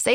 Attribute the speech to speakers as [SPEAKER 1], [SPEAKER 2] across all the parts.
[SPEAKER 1] Say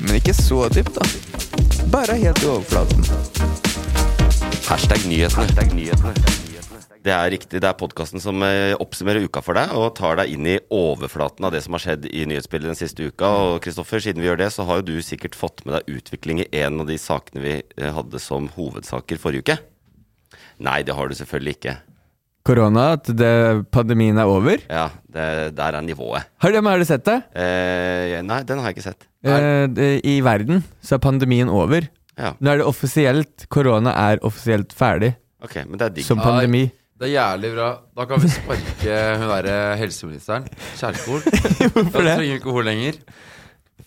[SPEAKER 2] Men ikke så dypt, da. Bare helt i overflaten.
[SPEAKER 3] Hashtag nyhetene. Det er riktig, det er podkasten som eh, oppsummerer uka for deg og tar deg inn i overflaten av det som har skjedd i nyhetsbildet den siste uka. Og Kristoffer, siden vi gjør det, så har jo du sikkert fått med deg utvikling i en av de sakene vi eh, hadde som hovedsaker forrige uke. Nei, det har du selvfølgelig ikke.
[SPEAKER 2] Korona, at det, pandemien er over.
[SPEAKER 3] Ja, det, der er nivået.
[SPEAKER 2] Har du, men har du sett det?
[SPEAKER 3] Eh, nei, den har jeg ikke sett.
[SPEAKER 2] Eh, det- I verden så er pandemien over.
[SPEAKER 3] Ja,
[SPEAKER 2] Nå er det offisielt. Korona er offisielt ferdig
[SPEAKER 3] ok, men det er digg.
[SPEAKER 2] som pandemi.
[SPEAKER 4] Det er jævlig bra. Da kan vi sparke hun derre helseministeren. Kjerkol.
[SPEAKER 2] Hvorfor
[SPEAKER 4] Da
[SPEAKER 2] det?
[SPEAKER 4] trenger vi ikke henne lenger.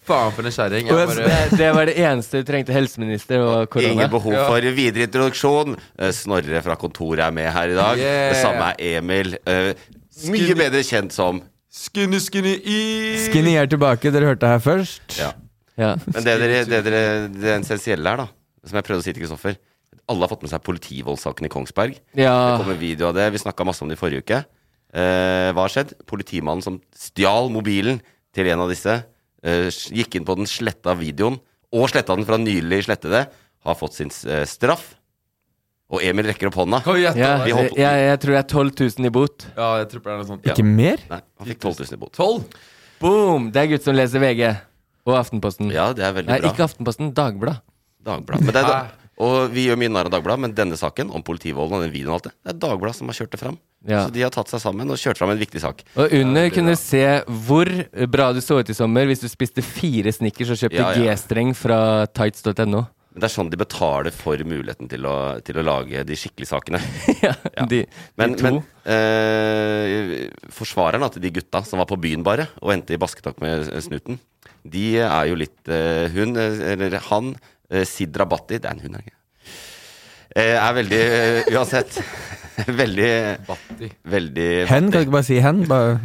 [SPEAKER 4] Faen for en kjerring.
[SPEAKER 2] Og jeg-
[SPEAKER 4] Jeg bare
[SPEAKER 5] Det, det var det eneste du trengte helseminister og korona.
[SPEAKER 3] Ingen behov for videre introduksjon. Eh, Snorre fra kontoret er med her i dag.
[SPEAKER 4] Yeah.
[SPEAKER 3] Det samme er Emil. eh, Mye
[SPEAKER 4] Skulle-
[SPEAKER 3] bedre kjent som
[SPEAKER 4] Skinny, skinny i
[SPEAKER 2] Skinny er tilbake, dere hørte det her først.
[SPEAKER 3] Ja.
[SPEAKER 5] Ja.
[SPEAKER 3] Men det dere, det dere det essensielle her, da, som jeg prøvde å si til Kristoffer Alle har fått med seg politivoldssaken i Kongsberg. Det
[SPEAKER 5] ja.
[SPEAKER 3] kom en video av det. Vi snakka masse om det i forrige uke. Eh, hva har skjedd? Politimannen som stjal mobilen til en av disse, eh, gikk inn på den sletta videoen, og sletta den fra nylig slettede, har fått sin eh, straff. Og Emil rekker opp hånda.
[SPEAKER 4] Kan vi gjette?
[SPEAKER 5] Ja,
[SPEAKER 4] hva det er?
[SPEAKER 5] jeg, jeg, jeg tror det er 12 000 i bot.
[SPEAKER 4] ja, jeg tror det er noe sånt.
[SPEAKER 2] Ikke mer?
[SPEAKER 3] Nei, han fikk 12 000 i bot.
[SPEAKER 4] Tolv?
[SPEAKER 5] Boom! Det er gutt som leser VG. Og Aftenposten.
[SPEAKER 3] Ja, det er veldig
[SPEAKER 5] Nei,
[SPEAKER 3] bra.
[SPEAKER 5] ikke Aftenposten. Dagbladet.
[SPEAKER 3] Dagbladet. Men det er da,
[SPEAKER 4] Nei.
[SPEAKER 3] og vi gjør mye narr av Dagbladet, men denne saken om politivolden og den videoen og alt det, det er Dagbladet som har kjørt det fram.
[SPEAKER 5] Ja.
[SPEAKER 3] Så de har tatt seg sammen og kjørt fram en viktig sak.
[SPEAKER 5] Og under
[SPEAKER 4] blir
[SPEAKER 5] kunne
[SPEAKER 4] bra.
[SPEAKER 5] du se hvor bra du så ut i sommer hvis du spiste fire snickers og kjøpte
[SPEAKER 3] Ja, ja.
[SPEAKER 5] G-streng fra tights.no.
[SPEAKER 3] Men det er sånn de betaler for muligheten til å, til å lage de skikkelige sakene.
[SPEAKER 5] ja, de,
[SPEAKER 3] Men,
[SPEAKER 5] de to.
[SPEAKER 3] men eh, forsvareren da, til de gutta som var på byen bare og endte i basketak med eh, snuten, de er jo litt eh, Hun, eh, eller han, eh, Sid Rabatti Det er en hund, er det ikke? Eh, er veldig eh, Uansett. veldig
[SPEAKER 4] Batti.
[SPEAKER 3] Veldig
[SPEAKER 2] Hen? Kan du ikke bare si hen? Bare.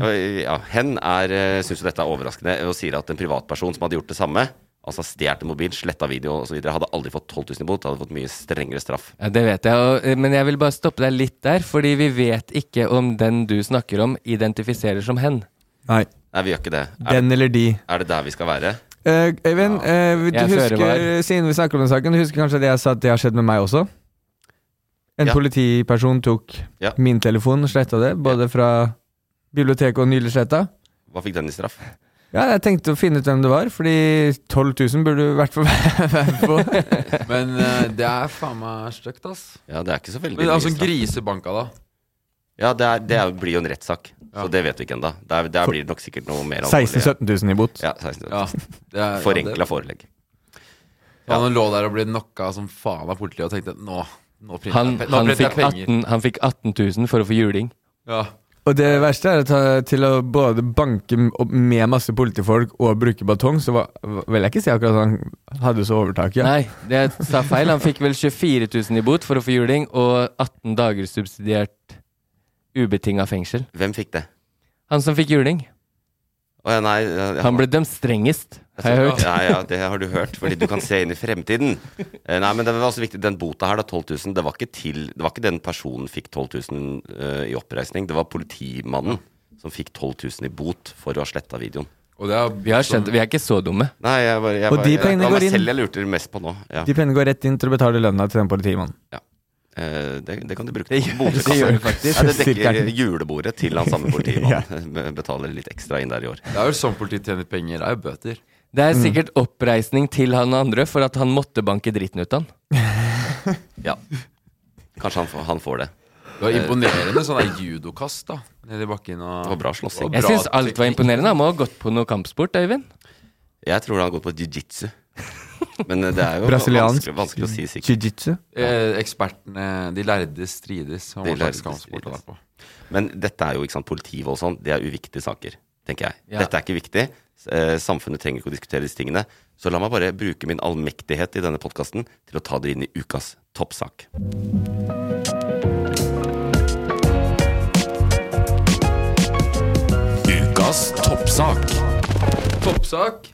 [SPEAKER 3] Ja, hen er, eh, synes jo dette er overraskende og sier at en privatperson som hadde gjort det samme, altså stjålet en mobil, sletta video osv., hadde aldri fått 12 000 i bot, hadde fått mye strengere straff.
[SPEAKER 5] Ja, Det vet jeg, og, eh, men jeg vil bare stoppe deg litt der. Fordi vi vet ikke om den du snakker om, identifiserer som hen.
[SPEAKER 2] Nei.
[SPEAKER 3] Nei, vi gjør ikke det. Er,
[SPEAKER 2] Den eller de.
[SPEAKER 3] er det der vi skal være?
[SPEAKER 2] Eh, Øyvind, eh, du
[SPEAKER 5] Jeg fører
[SPEAKER 2] husker,
[SPEAKER 5] var.
[SPEAKER 2] siden vi snakker om den saken, du husker kanskje at jeg sa at det har skjedd med meg også? En
[SPEAKER 3] Ja.
[SPEAKER 2] politiperson tok
[SPEAKER 3] Ja.
[SPEAKER 2] min telefon og sletta det, både fra biblioteket og nylig sletta.
[SPEAKER 3] Hva fikk den i straff?
[SPEAKER 2] Ja, jeg tenkte å finne ut hvem det var, fordi 12 000 burde du i hvert fall være på.
[SPEAKER 4] Men eh, det er faen meg stygt, ass.
[SPEAKER 3] Ja, det er ikke så veldig
[SPEAKER 4] Men
[SPEAKER 3] mye
[SPEAKER 4] altså,
[SPEAKER 3] straff.
[SPEAKER 4] grisebanka, da.
[SPEAKER 3] Ja, det, er, det er, blir jo en rettssak,
[SPEAKER 4] Ja.
[SPEAKER 3] så det vet vi ikke ennå. Der, der blir det nok sikkert noe mer
[SPEAKER 2] 16 000-17 000 i bot.
[SPEAKER 3] Ja, 16
[SPEAKER 4] Ja, det er- ja,
[SPEAKER 3] Forenkla
[SPEAKER 4] det-
[SPEAKER 3] forelegg.
[SPEAKER 4] Ja, Han lå der og ble knocka som faen av politiet og tenkte nå nå printer
[SPEAKER 5] Han,
[SPEAKER 4] jeg pe- nå
[SPEAKER 5] han,
[SPEAKER 4] printer jeg
[SPEAKER 5] fikk
[SPEAKER 4] penger.
[SPEAKER 5] 18, han fikk 18 000 for å få juling.
[SPEAKER 4] Ja.
[SPEAKER 2] Og det verste er at eh, til å både banke m- opp med masse politifolk og bruke batong, så var, vil jeg ikke si akkurat at han hadde så overtaket. Ja.
[SPEAKER 5] Nei, det jeg sa feil. Han fikk vel 24 000 i bot for å få juling, og 18 dager subsidiert ubetinga fengsel.
[SPEAKER 3] Hvem fikk det?
[SPEAKER 5] Han som fikk juling.
[SPEAKER 3] Å ja, nei ja, ja.
[SPEAKER 5] Han ble dømt strengest, har jeg hørt.
[SPEAKER 3] Ja, ja, det har du hørt, fordi du kan se inn i fremtiden. Eh, Nei, men det var også viktig, Den bota her, da, 12 000, det var ikke, til, det var ikke den personen fikk 12 000 eh, i oppreisning. Det var politimannen som fikk 12 000 i bot for å ha sletta videoen.
[SPEAKER 4] Og det er,
[SPEAKER 5] Vi har skjønt, vi er ikke så dumme.
[SPEAKER 3] Nei, jeg bare, jeg
[SPEAKER 2] Og
[SPEAKER 3] bare,
[SPEAKER 2] de
[SPEAKER 3] jeg-
[SPEAKER 2] pengene
[SPEAKER 3] det var
[SPEAKER 2] går
[SPEAKER 3] meg
[SPEAKER 2] inn-
[SPEAKER 3] selv jeg lurte mest på nå. Ja.
[SPEAKER 2] De pengene går rett inn til å betale lønna til den politimannen.
[SPEAKER 3] Eh, det, det kan de bruke.
[SPEAKER 5] Det
[SPEAKER 3] til
[SPEAKER 5] gjør- det
[SPEAKER 3] botkassa.
[SPEAKER 5] gjør det faktisk.
[SPEAKER 3] Ja, det dekker
[SPEAKER 2] Sirkelen.
[SPEAKER 3] julebordet til han samme politimannen. Betaler litt ekstra inn der i år.
[SPEAKER 4] det er jo sånn politiet tjener sånn penger. Det er jo bøter.
[SPEAKER 5] Det er sikkert oppreisning til han andre for at han måtte banke dritten ut av han.
[SPEAKER 3] Ja. Kanskje han, får- han får det.
[SPEAKER 4] Det var imponerende sånn der judokast, da. Ned i bakken og
[SPEAKER 3] Det var bra slåssing.
[SPEAKER 5] Jeg
[SPEAKER 4] Bra
[SPEAKER 5] syns alt var
[SPEAKER 4] teknikk.
[SPEAKER 5] imponerende. Han må ha gått på noe kampsport, Øyvind.
[SPEAKER 3] Jeg tror han har gått på jiu-jitsu. Men eh, det er jo
[SPEAKER 2] Brasiliansk
[SPEAKER 3] vanskelig, vanskelig å si sikkert.
[SPEAKER 2] jiu-jitsu.
[SPEAKER 4] Eh, Ekspertene, de lærde strides. om
[SPEAKER 3] De
[SPEAKER 4] hva slags
[SPEAKER 3] lærde
[SPEAKER 4] kampsport han
[SPEAKER 3] strides.
[SPEAKER 4] er på.
[SPEAKER 3] Men dette er jo ikke sant, politivold og sånn, det er uviktige saker, tenker jeg.
[SPEAKER 5] Ja.
[SPEAKER 3] Dette er ikke viktig. S- eh, Samfunnet trenger ikke å diskutere disse tingene. Så la meg bare bruke min allmektighet i denne podkasten til å ta det inn i ukas toppsak.
[SPEAKER 4] Ukas toppsak. Toppsak?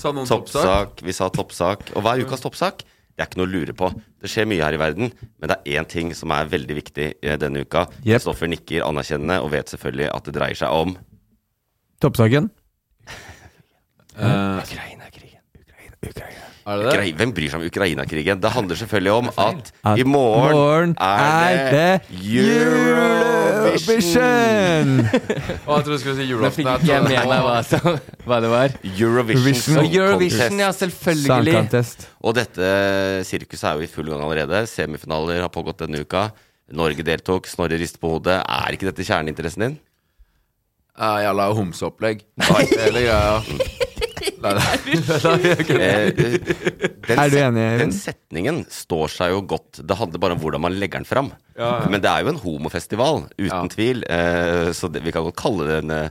[SPEAKER 4] Sa noen toppsak?
[SPEAKER 3] Toppsak, vi sa toppsak. Og hva er ukas toppsak? Det er ikke noe å lure på. Det skjer mye her i verden, men det er én ting som er veldig viktig eh, denne uka.
[SPEAKER 2] Jep.
[SPEAKER 3] Kristoffer nikker anerkjennende og vet selvfølgelig at det dreier seg om
[SPEAKER 2] Toppsaken.
[SPEAKER 4] Eh,
[SPEAKER 5] Ukraina-krigen.
[SPEAKER 4] er det det?
[SPEAKER 3] Ukrai Hvem bryr seg om Ukraina-krigen? Det handler selvfølgelig om at
[SPEAKER 2] At
[SPEAKER 3] i morgen,
[SPEAKER 2] morgen er det Eurovision!
[SPEAKER 4] Å, jeg trodde du skulle si
[SPEAKER 5] Nå
[SPEAKER 4] julaften.
[SPEAKER 5] fikk ikke jeg med meg hva, som, hva det var.
[SPEAKER 3] Eurovision, Song
[SPEAKER 5] Og Eurovision,
[SPEAKER 3] Contest.
[SPEAKER 5] ja,
[SPEAKER 2] Song
[SPEAKER 5] selvfølgelig.
[SPEAKER 2] contest.
[SPEAKER 3] Og dette sirkuset er jo i full gang allerede. Semifinaler har pågått denne uka. Norge deltok. Snorre rister på hodet. Er ikke dette kjerneinteressen din?
[SPEAKER 4] Ja, Eh, jævla homseopplegg. Hele greia. Nei, nei.
[SPEAKER 3] Eh, den,
[SPEAKER 2] Er
[SPEAKER 3] set-
[SPEAKER 2] du enig, Eivind?
[SPEAKER 3] Den setningen står seg jo godt. Det handler bare om hvordan man legger den fram. Men det er jo en homofestival, uten
[SPEAKER 4] Ja.
[SPEAKER 3] tvil. Eh, så det, vi kan godt kalle det en, eh,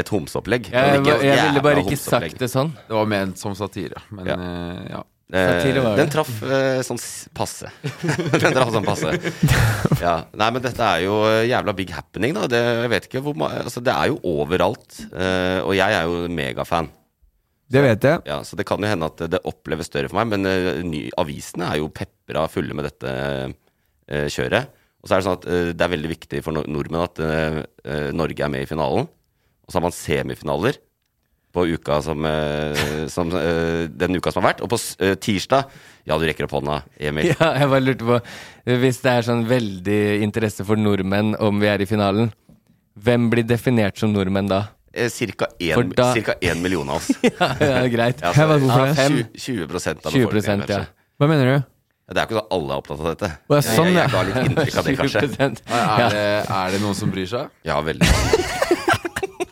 [SPEAKER 3] et homseopplegg.
[SPEAKER 5] Jeg,
[SPEAKER 3] Men ikke
[SPEAKER 5] jeg,
[SPEAKER 3] et
[SPEAKER 5] ville
[SPEAKER 3] jævla
[SPEAKER 5] bare ikke
[SPEAKER 3] homseopplegg.
[SPEAKER 5] sagt det sånn.
[SPEAKER 4] Det var ment som satire, men
[SPEAKER 3] Ja.
[SPEAKER 4] eh, ja.
[SPEAKER 5] Satire
[SPEAKER 3] Eh,
[SPEAKER 5] var
[SPEAKER 3] den
[SPEAKER 5] det.
[SPEAKER 3] traff eh, sånn s- passe. den traff sånn passe. Ja. Nei, men dette er jo eh, jævla big happening, da. Det, jeg vet ikke hvor ma altså, Det er jo overalt. eh, og jeg er jo megafan,
[SPEAKER 2] Det vet jeg.
[SPEAKER 3] ja, så det kan jo hende at det oppleves større for meg. Men eh, ny, avisene er jo pepra fulle med dette eh, kjøret. Og så er det sånn at eh, det er veldig viktig for no nordmenn at eh, eh, Norge er med i finalen. Og så har man semifinaler på uka som, eh, som eh, den uka som har vært. Og på s- eh, tirsdag Ja, du rekker opp hånda, Emil.
[SPEAKER 5] Ja, jeg bare lurte på Hvis det er sånn veldig interesse for nordmenn om vi er i finalen, hvem blir definert som nordmenn da?
[SPEAKER 3] Eh, Cirka
[SPEAKER 5] For
[SPEAKER 3] én
[SPEAKER 5] da-
[SPEAKER 3] cirka én million av oss.
[SPEAKER 5] Ja, ja greit.
[SPEAKER 3] Ja, altså,
[SPEAKER 2] Hæ, hva, hvorfor
[SPEAKER 5] Ja,
[SPEAKER 2] det?
[SPEAKER 5] fem.
[SPEAKER 3] 20, 20 av befolkningen.
[SPEAKER 5] 20 ja.
[SPEAKER 3] kanskje.
[SPEAKER 2] Hva mener du?
[SPEAKER 3] Ja, Det er jo ikke sånn at alle er opptatt av dette.
[SPEAKER 2] Å, ja,
[SPEAKER 3] jeg,
[SPEAKER 2] sånn, ja.
[SPEAKER 3] jeg ga litt inntrykk av det, kanskje.
[SPEAKER 5] 20
[SPEAKER 4] Er,
[SPEAKER 5] ja.
[SPEAKER 4] det, er det noen som bryr seg?
[SPEAKER 3] Ja, veldig mange.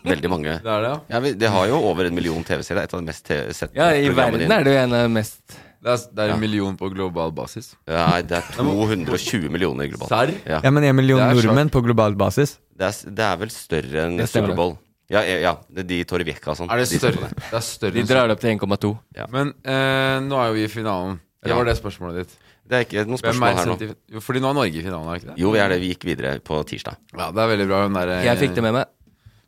[SPEAKER 3] veldig mange.
[SPEAKER 4] Det er det, ja.
[SPEAKER 3] Ja, vi, de har jo over en million TV-seere. Et av de mest te- sette
[SPEAKER 5] ja, i verden er det jo en av de mest
[SPEAKER 4] Det er, det er en million på global basis.
[SPEAKER 3] Nei, det er 220 millioner globalt.
[SPEAKER 4] Serr?
[SPEAKER 3] Ja.
[SPEAKER 2] Ja, men en million
[SPEAKER 4] Det er
[SPEAKER 2] nordmenn på global basis.
[SPEAKER 3] Det, er, s- det er vel større enn
[SPEAKER 5] Det stemmer.
[SPEAKER 3] Superbowl. Ja, ja, ja, det er de i Torrevieja og sånn.
[SPEAKER 4] Er det
[SPEAKER 3] De som-
[SPEAKER 4] større? Det er større
[SPEAKER 5] De
[SPEAKER 4] enn
[SPEAKER 5] drar det opp til 1,2.
[SPEAKER 4] Men eh, nå er jo vi i finalen. Eller
[SPEAKER 3] Ja.
[SPEAKER 4] var det spørsmålet ditt?
[SPEAKER 3] Det er ikke noe
[SPEAKER 4] Hvem er
[SPEAKER 3] spørsmål her
[SPEAKER 4] sendt
[SPEAKER 3] nå.
[SPEAKER 4] i- Jo, Fordi nå er Norge i finalen, er det ikke det?
[SPEAKER 3] Jo, vi er det. Vi gikk videre på tirsdag.
[SPEAKER 4] Ja, det er veldig bra. Hun der, eh,
[SPEAKER 5] Jeg fikk det med meg.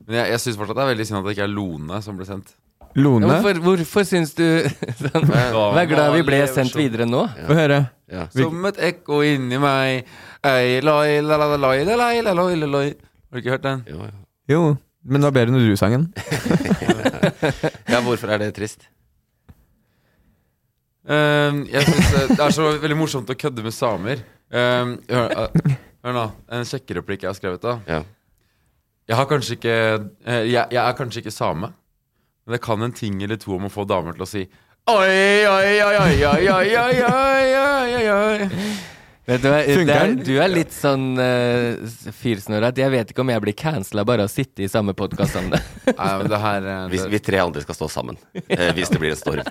[SPEAKER 4] Men jeg, jeg syns fortsatt det er veldig synd at det ikke er Lone som ble sendt.
[SPEAKER 5] Ja,
[SPEAKER 2] Lone,
[SPEAKER 5] Hvorfor, hvorfor syns du sånn, Vær glad vi ble sendt videre nå.
[SPEAKER 2] få høre.
[SPEAKER 3] Ja.
[SPEAKER 4] Som et ekko inni meg Ei, loi, la, la, la, loi, la, loi, la, loi, la, loi. Har du ikke hørt den?
[SPEAKER 3] Jo, ja.
[SPEAKER 2] Jo, men det var bedre enn du-sangen.
[SPEAKER 3] ja, hvorfor er det trist?
[SPEAKER 4] Ehm, jeg synes eh, Det er så veldig morsomt å kødde med samer. Ehm, hør, eh, hør nå. En sjekkereplikk jeg har skrevet. da
[SPEAKER 3] Ja.
[SPEAKER 4] Jeg har kanskje ikke eh, jeg, jeg er kanskje ikke same, men det kan en ting eller to om å få damer til å si Oi, oi, oi, oi, oi, oi, oi, oi, oi, oi, oi.
[SPEAKER 5] Vet Du hva,
[SPEAKER 2] Funker
[SPEAKER 5] det er,
[SPEAKER 2] den?
[SPEAKER 5] du er litt sånn uh, fyrsnurra at jeg vet ikke om jeg blir cancela bare av å sitte i samme podkast som det.
[SPEAKER 4] Nei, men det her eh,
[SPEAKER 3] Vi, vi
[SPEAKER 4] det,
[SPEAKER 3] tre andre skal stå sammen eh, hvis det blir en storm.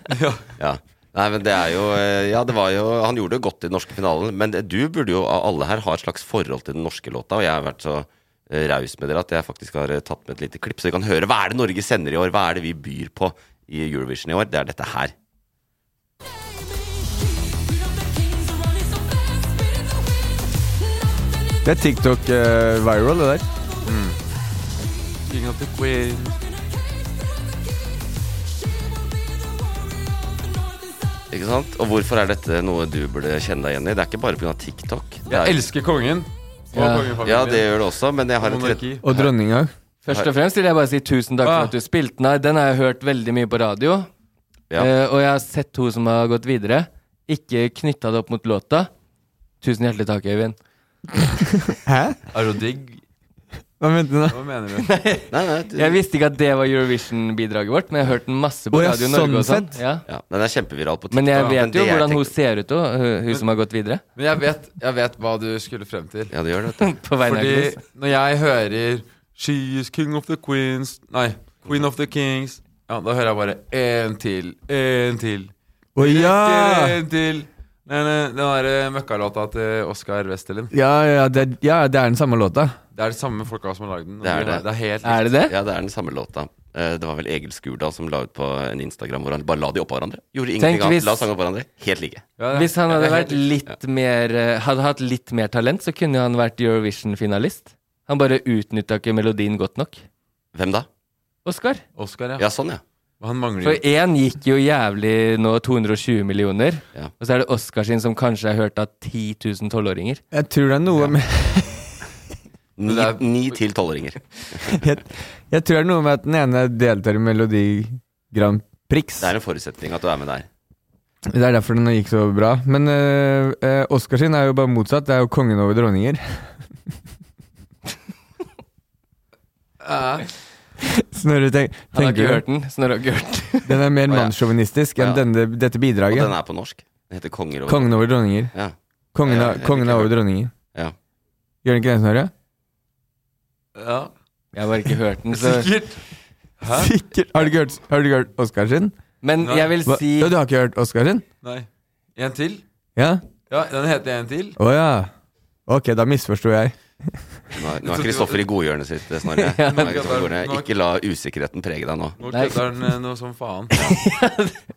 [SPEAKER 3] Ja. Nei, men det er jo eh, Ja, det var jo Han gjorde det godt i den norske finalen, men det- du burde jo av alle her ha et slags forhold til den norske låta, og jeg har vært så eh, raus med dere at jeg faktisk har eh, tatt med et lite klipp, så vi kan høre hva er det Norge sender i år? Hva er det vi byr på i Eurovision i år? Det er dette her.
[SPEAKER 2] Det er TikTok-viral, det der.
[SPEAKER 4] King of the Queen.
[SPEAKER 3] Ikke sant? Og hvorfor er dette noe du burde kjenne deg igjen i? Det er ikke bare pga. TikTok. Det er,
[SPEAKER 4] Jeg elsker kongen. Og
[SPEAKER 5] Ja.
[SPEAKER 4] kongefamilien.
[SPEAKER 3] ja, det gjør det også, men jeg har et
[SPEAKER 4] Monarki.
[SPEAKER 2] Og dronninga.
[SPEAKER 5] Først og fremst vil jeg bare si tusen takk
[SPEAKER 4] Ah.
[SPEAKER 5] for at du spilte den. her. Den har jeg hørt veldig mye på radio,
[SPEAKER 3] Ja.
[SPEAKER 5] Eh, og jeg har sett hun som har gått videre. Ikke knytta det opp mot låta. Tusen hjertelig takk, Øyvind.
[SPEAKER 2] Hæ?
[SPEAKER 4] Er du digg?
[SPEAKER 2] Hva mente du da?
[SPEAKER 4] Hva mener du?
[SPEAKER 3] Nei, nei, du-
[SPEAKER 5] Jeg visste ikke at det var Eurovision-bidraget vårt, men jeg har hørt den masse på
[SPEAKER 2] Å, ja,
[SPEAKER 5] Radio Norge og
[SPEAKER 2] sånn
[SPEAKER 5] sånn.
[SPEAKER 2] sett.
[SPEAKER 5] Ja.
[SPEAKER 3] ja, den er kjempeviral på TikTok.
[SPEAKER 5] Men jeg vet jo
[SPEAKER 3] det
[SPEAKER 5] hvordan hun
[SPEAKER 3] tenkte-
[SPEAKER 5] ser ut òg, hun, hun som har gått videre.
[SPEAKER 4] Men jeg vet, jeg vet hva du skulle frem til.
[SPEAKER 3] Ja, det gjør det. vet du.
[SPEAKER 5] På vegne av
[SPEAKER 4] Fordi
[SPEAKER 5] Agnes.
[SPEAKER 4] når jeg hører She is king of the queens Nei, queen of the kings Ja, da hører jeg bare én til, én til.
[SPEAKER 2] Å ja!
[SPEAKER 4] Én til. Den, den derre møkkalåta til Oskar Westerlin.
[SPEAKER 2] Ja, ja, det, er- ja, det er den samme låta.
[SPEAKER 4] Det er de samme folka som har lagd den. og
[SPEAKER 3] Det er
[SPEAKER 4] de har-
[SPEAKER 3] det.
[SPEAKER 4] det er helt
[SPEAKER 5] Er det det?
[SPEAKER 3] Ja, det er den samme låta. Eh, Det var vel Egil Skurdal som la ut på en Instagram hvor han bare la de oppå hverandre. Gjorde
[SPEAKER 5] Tenk
[SPEAKER 3] ingenting annet.
[SPEAKER 5] hvis-
[SPEAKER 3] La sangene oppå hverandre. Helt like.
[SPEAKER 4] Ja, det-
[SPEAKER 5] Hvis han
[SPEAKER 4] ja, det
[SPEAKER 5] hadde
[SPEAKER 4] er
[SPEAKER 5] vært
[SPEAKER 4] helt-
[SPEAKER 5] litt mer eh, Hadde hatt litt mer talent, så kunne han vært Eurovision-finalist. Han bare utnytta ikke melodien godt nok.
[SPEAKER 3] Hvem da?
[SPEAKER 5] Oskar.
[SPEAKER 4] Oskar, ja.
[SPEAKER 3] Ja, sånn, ja.
[SPEAKER 4] Han mangler
[SPEAKER 5] For
[SPEAKER 4] jo
[SPEAKER 5] én gikk jo jævlig nå 220 millioner.
[SPEAKER 3] Ja.
[SPEAKER 5] Og så er det Oskar sin som kanskje er hørt av 10 000 tolvåringer.
[SPEAKER 2] Jeg tror det er noe med
[SPEAKER 3] Ni,
[SPEAKER 4] det er-
[SPEAKER 3] ni til tolvåringer.
[SPEAKER 2] jeg, jeg tror det er noe med at den ene deltar i Melodi Grand Prix.
[SPEAKER 3] Det er en forutsetning at du er med der.
[SPEAKER 2] Det er derfor den gikk så bra. Men øh, øh, Oscar sin er jo bare motsatt. Det er jo kongen over dronninger.
[SPEAKER 4] Ja.
[SPEAKER 2] Snorre, tenk,
[SPEAKER 5] Han
[SPEAKER 2] tenker
[SPEAKER 5] har ikke
[SPEAKER 2] du-
[SPEAKER 5] hørt den. Snorre har ikke hørt den.
[SPEAKER 2] Den er mer
[SPEAKER 3] Å, ja.
[SPEAKER 2] mannssjåvinistisk enn
[SPEAKER 3] Å, ja.
[SPEAKER 2] denne, dette
[SPEAKER 3] Og
[SPEAKER 2] bidraget.
[SPEAKER 3] den er på norsk. Den heter Konger over
[SPEAKER 2] Kongen over dronninger.
[SPEAKER 3] Ja.
[SPEAKER 2] Kongen,
[SPEAKER 3] Ja,
[SPEAKER 2] er-
[SPEAKER 3] jeg
[SPEAKER 2] kongen
[SPEAKER 3] liker
[SPEAKER 2] er
[SPEAKER 3] det.
[SPEAKER 2] over dronninger.
[SPEAKER 3] ja.
[SPEAKER 2] Gjør den ikke det, Snorre?
[SPEAKER 4] ja.
[SPEAKER 5] Jeg har bare ikke hørt den, så
[SPEAKER 4] Sikkert. Hæ?
[SPEAKER 2] Sikkert. Har du ikke hørt, har du ikke hørt Oscar sin?
[SPEAKER 5] Men
[SPEAKER 4] Nei.
[SPEAKER 5] jeg vil
[SPEAKER 2] Hva?
[SPEAKER 5] si
[SPEAKER 2] Ja, du har ikke hørt Oscar sin?
[SPEAKER 4] Nei. En til?
[SPEAKER 2] Ja?
[SPEAKER 4] Ja, den heter En til.
[SPEAKER 2] Å ja. Ok, da misforsto jeg.
[SPEAKER 3] Nå er- nå er Kristoffer i godhjørnet sitt, eh, Snorre. Nå er Kristoffer i godhjørnet. Ikke la usikkerheten prege deg nå.
[SPEAKER 4] Nå
[SPEAKER 5] Nei.
[SPEAKER 4] kødder den eh, noe som faen.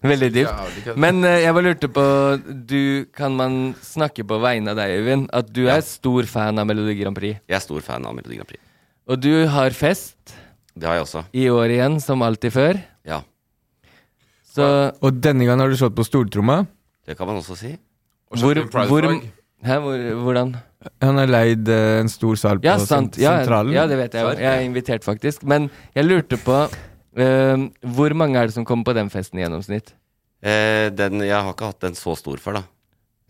[SPEAKER 5] Veldig dypt.
[SPEAKER 4] Jævlig kødd.
[SPEAKER 5] Men eh, jeg bare lurte på du, Kan man snakke på vegne av deg, Øyvind, at du er stor fan av Melodi Grand Prix?
[SPEAKER 3] Jeg er stor fan av Melodi Grand Prix.
[SPEAKER 5] Og du har fest
[SPEAKER 3] Det har jeg også.
[SPEAKER 5] i år igjen, som alltid før.
[SPEAKER 3] Ja.
[SPEAKER 5] Så
[SPEAKER 2] Og denne gangen har du slått på stortromma.
[SPEAKER 3] Det kan man også si.
[SPEAKER 4] Og
[SPEAKER 5] hvor,
[SPEAKER 4] Champion Pride
[SPEAKER 5] hvor
[SPEAKER 4] Flag.
[SPEAKER 5] Hæ, hvor, hvordan?
[SPEAKER 2] Han har leid eh, en stor sal på
[SPEAKER 5] Ja,
[SPEAKER 2] sent-
[SPEAKER 5] sant. Ja,
[SPEAKER 2] sentralen.
[SPEAKER 5] ja, det vet jeg jo.
[SPEAKER 4] Svar.
[SPEAKER 5] Jeg er invitert, faktisk. Men jeg lurte på eh, Hvor mange er det som kommer på den festen i gjennomsnitt?
[SPEAKER 3] Eh, den, jeg har ikke hatt den så stor før, da.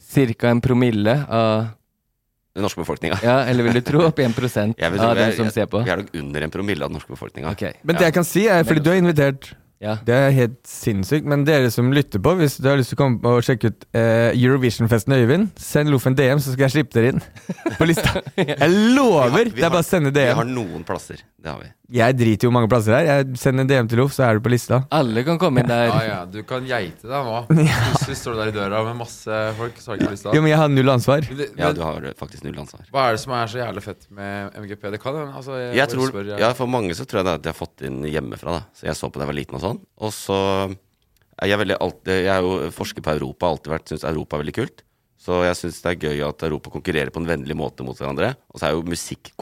[SPEAKER 5] Cirka en promille av
[SPEAKER 3] Den norske befolkninga.
[SPEAKER 5] Ja, eller vil du tro opp 1
[SPEAKER 3] Jeg vil tro
[SPEAKER 5] av
[SPEAKER 3] vi er-
[SPEAKER 5] dem som ser på?
[SPEAKER 3] Vi er nok under en promille av den norske befolkninga.
[SPEAKER 5] Ok,
[SPEAKER 2] Men det jeg kan si, er fordi du er invitert.
[SPEAKER 5] ja.
[SPEAKER 2] Det er helt sinnssykt. Men dere som lytter på, hvis du har lyst til å komme og sjekke ut eh, Eurovision-festen til Øyvind, send Loffen DM, så skal jeg slippe dere inn på lista. Jeg
[SPEAKER 3] Vi har- vi
[SPEAKER 2] lover! Det er bare å sende
[SPEAKER 3] Vi har
[SPEAKER 2] DM.
[SPEAKER 3] noen plasser. Det har vi.
[SPEAKER 2] Jeg driter jo hvor mange plasser det er. Jeg sender DM til Loff, så er du på lista.
[SPEAKER 5] Alle kan komme inn der.
[SPEAKER 4] Ja, ja, du kan geite deg nå. Plutselig står du der i døra med masse folk. Så har ikke lyst til
[SPEAKER 2] Jo,
[SPEAKER 4] det.
[SPEAKER 2] men jeg har null ansvar.
[SPEAKER 4] Men, det-
[SPEAKER 3] Ja,
[SPEAKER 4] men
[SPEAKER 3] du har eh, faktisk null ansvar.
[SPEAKER 4] hva er det som er så jævlig fett med MGP? Det kan hende. Altså, jeg
[SPEAKER 3] Jeg
[SPEAKER 4] bare
[SPEAKER 3] tror,
[SPEAKER 4] spør, jeg.
[SPEAKER 3] ja, for mange så tror jeg det er at de har fått inn hjemmefra. da Så Jeg så på da jeg var liten og sånn. Og så er jeg, veldig alt, eh, jeg er jo forsker på Europa, har alltid vært syns Europa er veldig kult. Så jeg syns det er gøy at Europa konkurrerer på en vennlig måte mot hverandre. Og så er jo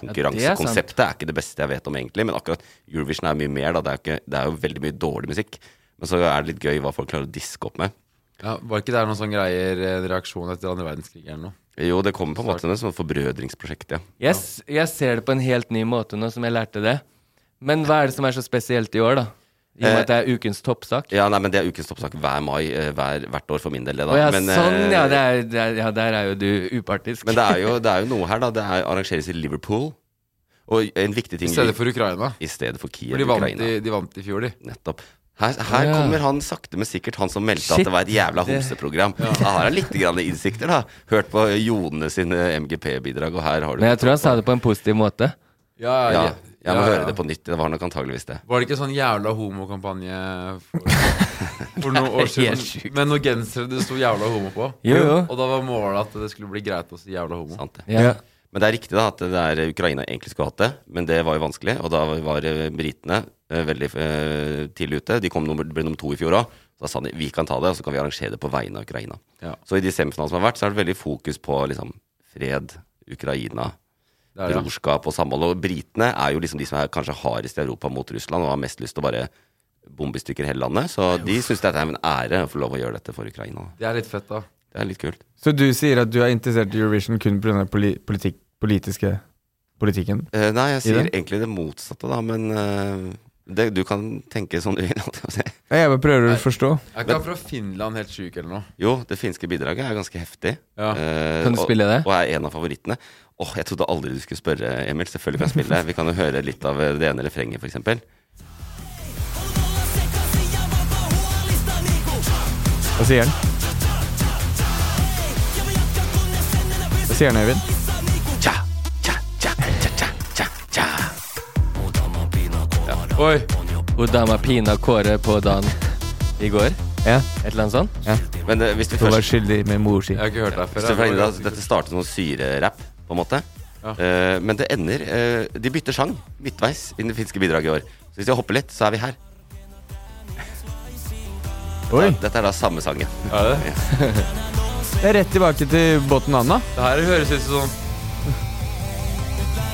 [SPEAKER 3] musikkonkurransekonseptet er ikke det beste jeg vet om, egentlig. Men akkurat Eurovision er mye mer, da. Det er, jo ikke, det er jo veldig mye dårlig musikk. Men så er det litt gøy hva folk klarer å diske opp med.
[SPEAKER 4] Ja, var ikke det noen sånne greier, en reaksjon etter andre verdenskrig eller noe?
[SPEAKER 3] Jo, det kommer på en måte som et sånt forbrødringsprosjekt, ja.
[SPEAKER 5] Jeg, s- jeg ser det på en helt ny måte nå som jeg lærte det. Men hva er det som er så spesielt i år, da? I og med
[SPEAKER 3] Eh,
[SPEAKER 5] at det er ukens toppsak?
[SPEAKER 3] Ja, nei, men Det er ukens toppsak hver mai eh, hver, hvert år for min del. Det, da.
[SPEAKER 5] Å ja,
[SPEAKER 3] men, eh,
[SPEAKER 5] sånn, ja, det er, det er, ja. Der er jo du upartisk.
[SPEAKER 3] men det er, jo, det er jo noe her, da. Det er, arrangeres i Liverpool. Og en viktig
[SPEAKER 4] I
[SPEAKER 3] ting
[SPEAKER 4] stedet for Ukraina.
[SPEAKER 3] I stedet for Kiev,
[SPEAKER 4] For de vant,
[SPEAKER 3] Ukraina.
[SPEAKER 4] i, de vant i fjor, de.
[SPEAKER 3] Nettopp. Her, her
[SPEAKER 5] Ja.
[SPEAKER 3] kommer han sakte, men sikkert, han som meldte
[SPEAKER 5] Shit,
[SPEAKER 3] at det var et jævla
[SPEAKER 5] det-
[SPEAKER 3] homseprogram. Da har han litt grann innsikter, da. Hørt på Jone eh, sine MGP-bidrag, og her har du
[SPEAKER 5] Men jeg tror han sa det på en positiv måte.
[SPEAKER 4] Ja,
[SPEAKER 3] Ja,
[SPEAKER 4] ja,
[SPEAKER 3] jeg må
[SPEAKER 4] ja, ja.
[SPEAKER 3] høre det på nytt. Det var nok antageligvis det.
[SPEAKER 4] Var det ikke sånn jævla homokampanje for, for noen år
[SPEAKER 5] Det er helt
[SPEAKER 4] siden?
[SPEAKER 5] sjukt.
[SPEAKER 4] Med noen gensere det sto 'jævla homo' på.
[SPEAKER 5] Jo, jo.
[SPEAKER 4] Og da var målet at det skulle bli greit å si 'jævla homo'.
[SPEAKER 3] Sant det.
[SPEAKER 5] Ja.
[SPEAKER 3] Men det er riktig da at det er Ukraina egentlig skulle hatt det, men det var jo vanskelig. Og da var eh, britene eh, veldig eh, tidlig ute. De kom nummer, ble nummer to i fjor òg. Da sa de vi kan ta det, og så kan vi arrangere det på vegne av Ukraina.
[SPEAKER 4] Ja.
[SPEAKER 3] Så i de semifinalene som har vært, så er det veldig fokus på liksom, fred, Ukraina,
[SPEAKER 4] Det er det.
[SPEAKER 3] brorskap og samhold. Og britene er jo liksom de som er kanskje hardest i Europa mot Russland og har mest lyst til å bare bombe i stykker hele landet. Så de syns det er en ære å få lov å gjøre dette for Ukraina.
[SPEAKER 4] Det er litt fett, da.
[SPEAKER 3] Det er litt kult.
[SPEAKER 2] Så du sier at du er interessert i Eurovision kun pga. Poli politikk, politiske politikken?
[SPEAKER 3] Eh, nei, jeg
[SPEAKER 2] I
[SPEAKER 3] sier
[SPEAKER 2] det?
[SPEAKER 3] egentlig det motsatte, da, men eh, det, du kan tenke som du vil. holdt jeg på å si.
[SPEAKER 2] Jeg bare prøver å forstå.
[SPEAKER 4] Er ikke han fra Finland helt sjuk eller noe?
[SPEAKER 3] Jo, det finske bidraget er ganske heftig.
[SPEAKER 4] Ja.
[SPEAKER 3] Eh,
[SPEAKER 5] Kan du
[SPEAKER 3] og-
[SPEAKER 5] spille det?
[SPEAKER 3] Og er en av favorittene. Åh, Jeg trodde aldri du skulle spørre, Emil. Selvfølgelig kan jeg spille det. Vi kan jo høre litt av det ene refrenget, f.eks.
[SPEAKER 2] Hva sier han? Hva sier han, Øyvind?
[SPEAKER 4] Oi!
[SPEAKER 5] Hvor dama pina Kåre på dagen i går.
[SPEAKER 2] Ja.
[SPEAKER 5] Et eller annet sånt.
[SPEAKER 3] Men eh, hvis du
[SPEAKER 2] Hun var
[SPEAKER 3] først
[SPEAKER 2] skyldig med mor si.
[SPEAKER 4] Jeg har ikke hørt deg før.
[SPEAKER 3] hvis du
[SPEAKER 4] jeg.
[SPEAKER 3] forteller at Dette startet som noe syrerapp, på en måte.
[SPEAKER 4] Ja.
[SPEAKER 3] Eh, men det ender eh, De bytter sang midtveis i det finske bidraget i år. Så hvis vi hopper litt, så er vi her.
[SPEAKER 2] Oi.
[SPEAKER 3] Dette er da samme sangen.
[SPEAKER 4] Er det?
[SPEAKER 2] Det er rett tilbake til båten Anna.
[SPEAKER 4] Det her høres ut som sånn